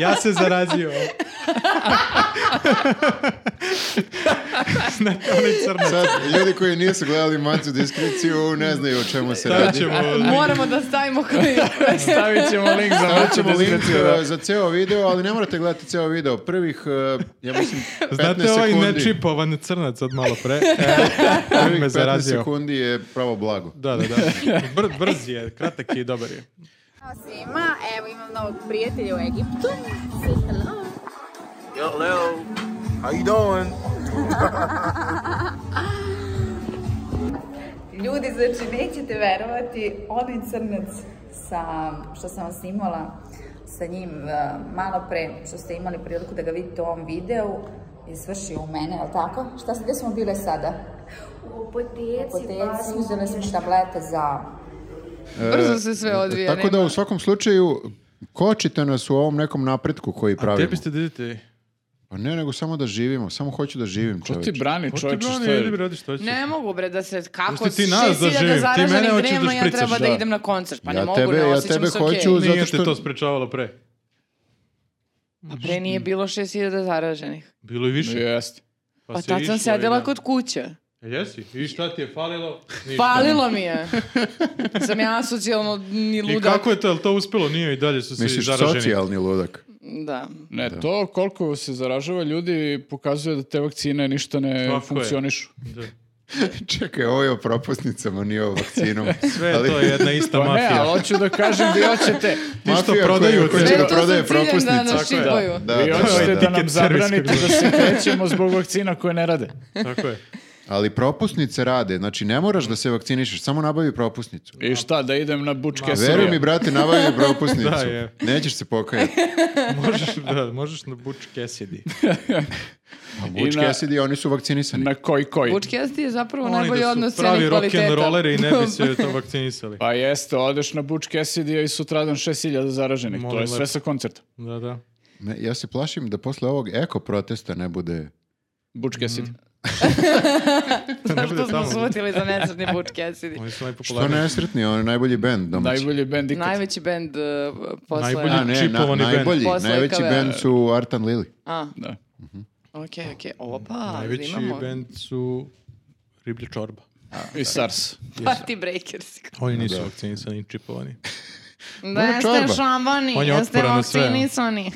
Ja se zarazio. (laughs) Znate, onaj crnac.
Sad, ljudi koji nisu gledali macu diskreciju ne znaju o čemu se
Stavit
radi.
ćemo link.
Moramo da stavimo koji...
(laughs)
Stavit ćemo link za
Stavit
macu
ćemo link
diskreciju.
e, za ceo video, ali ne morate gledati ceo video. Prvih, e, ja mislim, 15
(laughs) Znate ovaj
sekundi.
nečipovan crnac od malo
(laughs)
pre? E,
Prvih
me
15
zarazio.
sekundi je pravo blago.
Da, da, da. Br- brz je, kratak je i dobar je.
Ćao svima, evo imam novog prijatelja u Egiptu. Say hello.
Yo, Leo, how you doing?
Ljudi, znači nećete verovati, onaj crnac sa, što sam vas snimala sa njim eh, malo pre, što ste imali priliku da ga vidite u ovom videu, je svršio u mene, jel tako? Šta, gde smo bile sada?
U apoteci,
Poteci,
bazu,
uzeli pa smo tablete za
Brzo se
E,
sve odvija.
Tako da
nema.
u svakom slučaju kočite nas u ovom nekom napretku koji
A
pravimo.
tebi ste da idete...
Pa ne, nego samo da živimo, samo hoću da živim,
Ko ti
čoveče.
brani
Hoćeš
čovječe?
brani,
šta je?
idi bre, radi što ćeš.
Ne mogu bre da se kako
Pusti ti nas da
6000
živim, ti mene
zaraženih
hoćeš da
dnevno ja
špricaš,
treba da
da.
idem na koncert. Pa
Ja
ne mogu,
tebe-
ne
ja
osjećam
tebe
se
hoću
okej.
za-
Nije
zato
te
što-
to sprečavalo pre.
A pre
Pa
nije bilo 6000 zaraženih.
Bilo je više.
Jeste.
Pa
se
tad
išlo
sam
i
sedela
da.
kod kuće.
E, Jesi, i šta ti je falilo? Ništa.
Palilo mi je. Sam ja socijalno ni
I
ludak.
kako je to, je li to uspelo? Nije i dalje su svi
Misliš,
zaraženi.
socijalni ludak.
Da.
Ne, to koliko se zaražava ljudi pokazuje da te vakcine ništa ne
Tako je.
funkcionišu.
Da.
(laughs) Čekaj, ovo je o propusnicama, nije o vakcinom.
Sve je to jedna ista
(laughs) Pa ne,
mafija.
ali hoću da kažem, vi hoćete,
Ti što
Mafija
prodaju
koja- koja
te.
će
Sve
da
to sa
prodaje
ciljem da
propusnice.
nas
Tako je.
šipaju.
Da,
vi
da,
hoćete
da.
da nam
Ticket service
zabranite
kako
da se krećemo zbog vakcina koje ne rade.
Tako je.
Ali propusnice rade, znači ne moraš da se vakcinišeš, samo nabavi propusnicu.
I šta, da idem na bučke
Veruj mi, brate, nabavi propusnicu.
Da, je.
Nećeš se pokajati.
Možeš, da, možeš na Butch
(laughs)
Cassidy.
A Butch
I na-
Cassidy, oni su vakcinisani.
Na koji koji.
Butch Cassidy je zapravo
Oni
najbolji
da
odnos
su pravi
cenih kvaliteta.
rock'n'rolleri i ne bi
(laughs)
se to vakcinisali.
Pa jeste, odeš na Butch Cassidy i sutradan 6000 zaraženih.
Molim
to je
lepo.
sve sa koncerta.
Da, da.
Ne, ja se plašim da posle ovog eko protesta ne bude...
Butch Cassidy.
bude
Zašto smo
tamo.
svutili za nesretni Butch Cassidy?
Oni su
Što
najpopularniji.
nesretni, on je najbolji bend domaći.
Najbolji bend ikad.
Najveći bend uh, posle...
Najbolji-
A, ne, na-
Čipovani bend.
najbolji,
Posle
najveći
kave.
bend su Art and Lily.
A,
Da.
okej, okej. Opa,
Najveći
imamo
band su Riblja čorba.
I SARS.
(laughs) Party Breakers.
Oni nisu vakcinisani,
(laughs)
čipovani.
Da
Ona čorba.
jeste šambani,
On je
jeste
otporan na sve.
vakcinisani.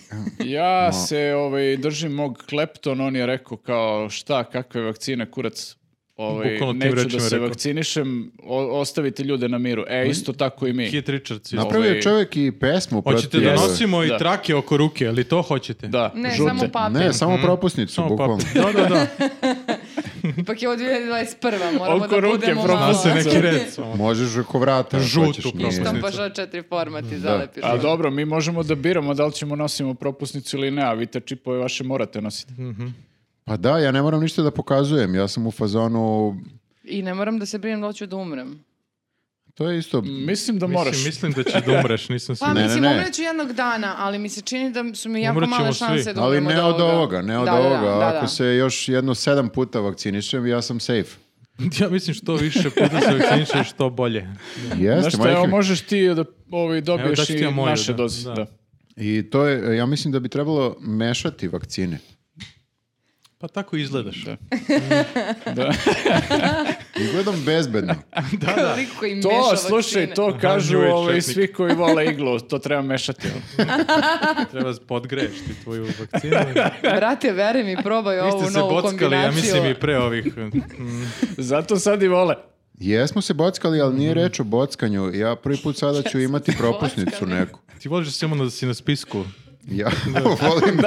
Ja se ovaj, držim mog Klepton, on je rekao kao šta, kakve vakcine, kurac. Ovaj,
Bukvalno tim
neću da
rečima je
se
rekao.
vakcinišem, o- ostavite ljude na miru. E, isto tako i mi.
Kit Richards. isto.
Napravio je
Ovaj-
čovjek i pesmu
Hoćete
protiv-
da nosimo i
Da.
trake oko ruke, ali to hoćete?
Da,
Ne,
žute.
samo papir.
Ne, samo propusnicu,
Mhm. Samo
bukvalno.
papir. Da, da, da.
(laughs) Ipak je ovo 2021. Moramo
Oko
da
ruke,
budemo
propustite.
malo...
Zna se neki red. samo.
Možeš oko vrata. ako
Žutu
hoćeš, nije-
propusnicu.
Štampaš ova četiri forma ti zalepiš.
A dobro, mi možemo da biramo da li ćemo nosimo propusnicu ili ne, a vi te čipove vaše morate nositi.
Mhm.
Pa da, ja ne moram ništa da pokazujem. Ja sam u fazonu...
I ne moram da se brinem da hoću da umrem.
To je isto...
Mislim da moraš.
Mislim, mislim da će da umreš, nisam
Pa
Ne,
siguran.
ne,
mislim,
ne.
umreću jednog dana, ali mi se čini da su mi jako
Umrećemo
male
svi.
šanse da
Ali
umrem
ne od ovoga, ne od
Da, da, da,
ovoga.
da, da.
Ako se još jedno sedam puta vakcinišem, ja sam safe.
Ja mislim što više puta se vakcinišeš, što bolje.
Jeste,
Znaš šta,
majke
evo
mi.
možeš ti da ovaj,
Evo,
dobiješ
daću ti
i
ja moju,
naše
da,
doze.
da.
Da.
I to je, ja mislim da bi trebalo mešati vakcine.
Pa tako izgledaš.
Da.
Izgledam
(laughs)
bezbedno.
Da, da. Koliko Pa im meša
To,
vakcine.
slušaj, to kažu
New Age
ovaj,
četnik.
svi koji vole iglu, to treba mešati. ono.
Treba podgreješ ti tvoju vakcinu.
Brate, vere mi, probaj
Vi
(laughs) ovu
ste se
novu
bockali, ja
kombinaciju.
mislim i pre ovih. Mm.
Zato sad i vole.
Jesmo se bockali, ali
Mhm.
nije reč o bockanju. Ja prvi put sada ću imati propusnicu
bockali.
neku.
Ti voliš da si ono da si na spisku.
Ja (laughs) volim,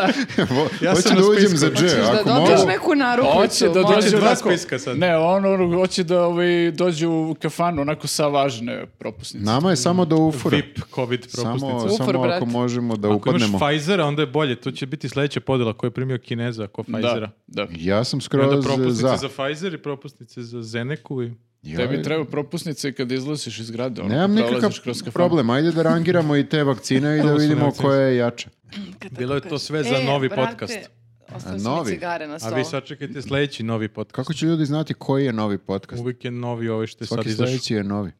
vo-
Ja
hoću
sam
da
na
uđem
spisku.
za
Hoćeš
dže,
da
ako
dobiješ
mogu.
neku narukvicu.
Pa Hoće da
molim.
Hoće
dođe
dva
onako...
spiska sad.
Ne, on ono, hoće da ovaj, dođe u kafanu onako sa važne propusnice.
Nama je samo da ufura.
VIP COVID propusnica.
Samo,
Ufur,
samo ako
brate.
možemo da
Ako imaš
upadnemo.
Pfizera, onda je bolje. To će biti sledeća podela koja je primio Kineza ako Pfizera.
Da, da.
Ja sam
I onda
skroz
propusnice za.
za.
Pfizer i propusnice za Zeneku. I...
E,
Ja-
Tebi treba propusnice kad izlaziš iz grada. Ono,
Nemam
kad
nikakav
prolaziš kroz kafanu.
problem. Ajde da rangiramo i te vakcine i da
su
vidimo
nevakcinisti.
koja je jača.
Bilo je to sve za novi podcast.
A,
E, Ostao su mi
novi?
cigare na
A
stolu.
vi sačekajte sledeći novi podcast.
Kako će ljudi znati koji je novi podcast?
Uvijek je novi ovaj što je sad
Svaki
izašao.
sledeći je novi.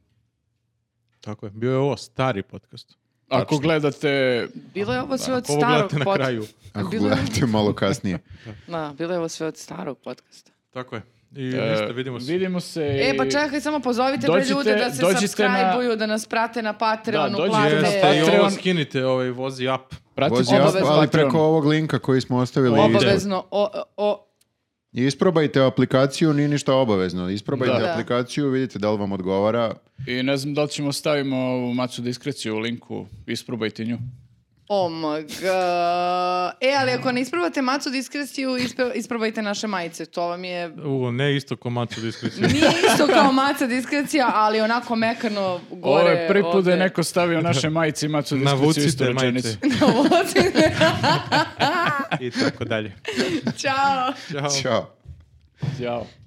Tako je. Bio je ovo stari podcast.
Ako gledate
Bilo je ovo sve od
Ako ovo
starog
gledate na
podcasta.
kraju.
Ako
Bilo je-
gledate malo kasnije.
Da, bilo je ovo sve od starog podcasta.
Tako je. I
E,
ništa, vidimo se.
Vidimo se.
E,
i-
pa čekaj, samo pozovite bre
Dođite-
ljude da se
dođite na-
subscribe-uju, da nas prate na Patreonu,
Da, dođite
plate.
na
Jeste, i ovo
Patreon.
skinite, ovaj vozi up.
Pratite
Vozi up,
nas na
Obavezno.
ali
Patreonu.
preko ovog linka koji smo ostavili.
Obavezno.
ispod.
Obavezno, o, o,
Isprobajte aplikaciju, nije ništa obavezno. Isprobajte
Da.
aplikaciju, vidite da li vam odgovara.
I ne znam da li ćemo stavimo ovu macu diskreciju u linku. Isprobajte nju.
oh my god. E, ali ako ne isprobate macu diskreciju, ispe- isprobajte naše majice. To vam je...
U, ne isto komatu diskrecije.
(laughs) Nije isto kao maca diskrecija, ali onako mekano
Ovo
gore.
je prvi put da je
ovde. (laughs)
neko stavio naše majice i macu diskreciju istu
Navucite
rečenicu.
majice
Ovde.
i tako dalje.
Ćao.
Ćao.
Ćao.
Ćao.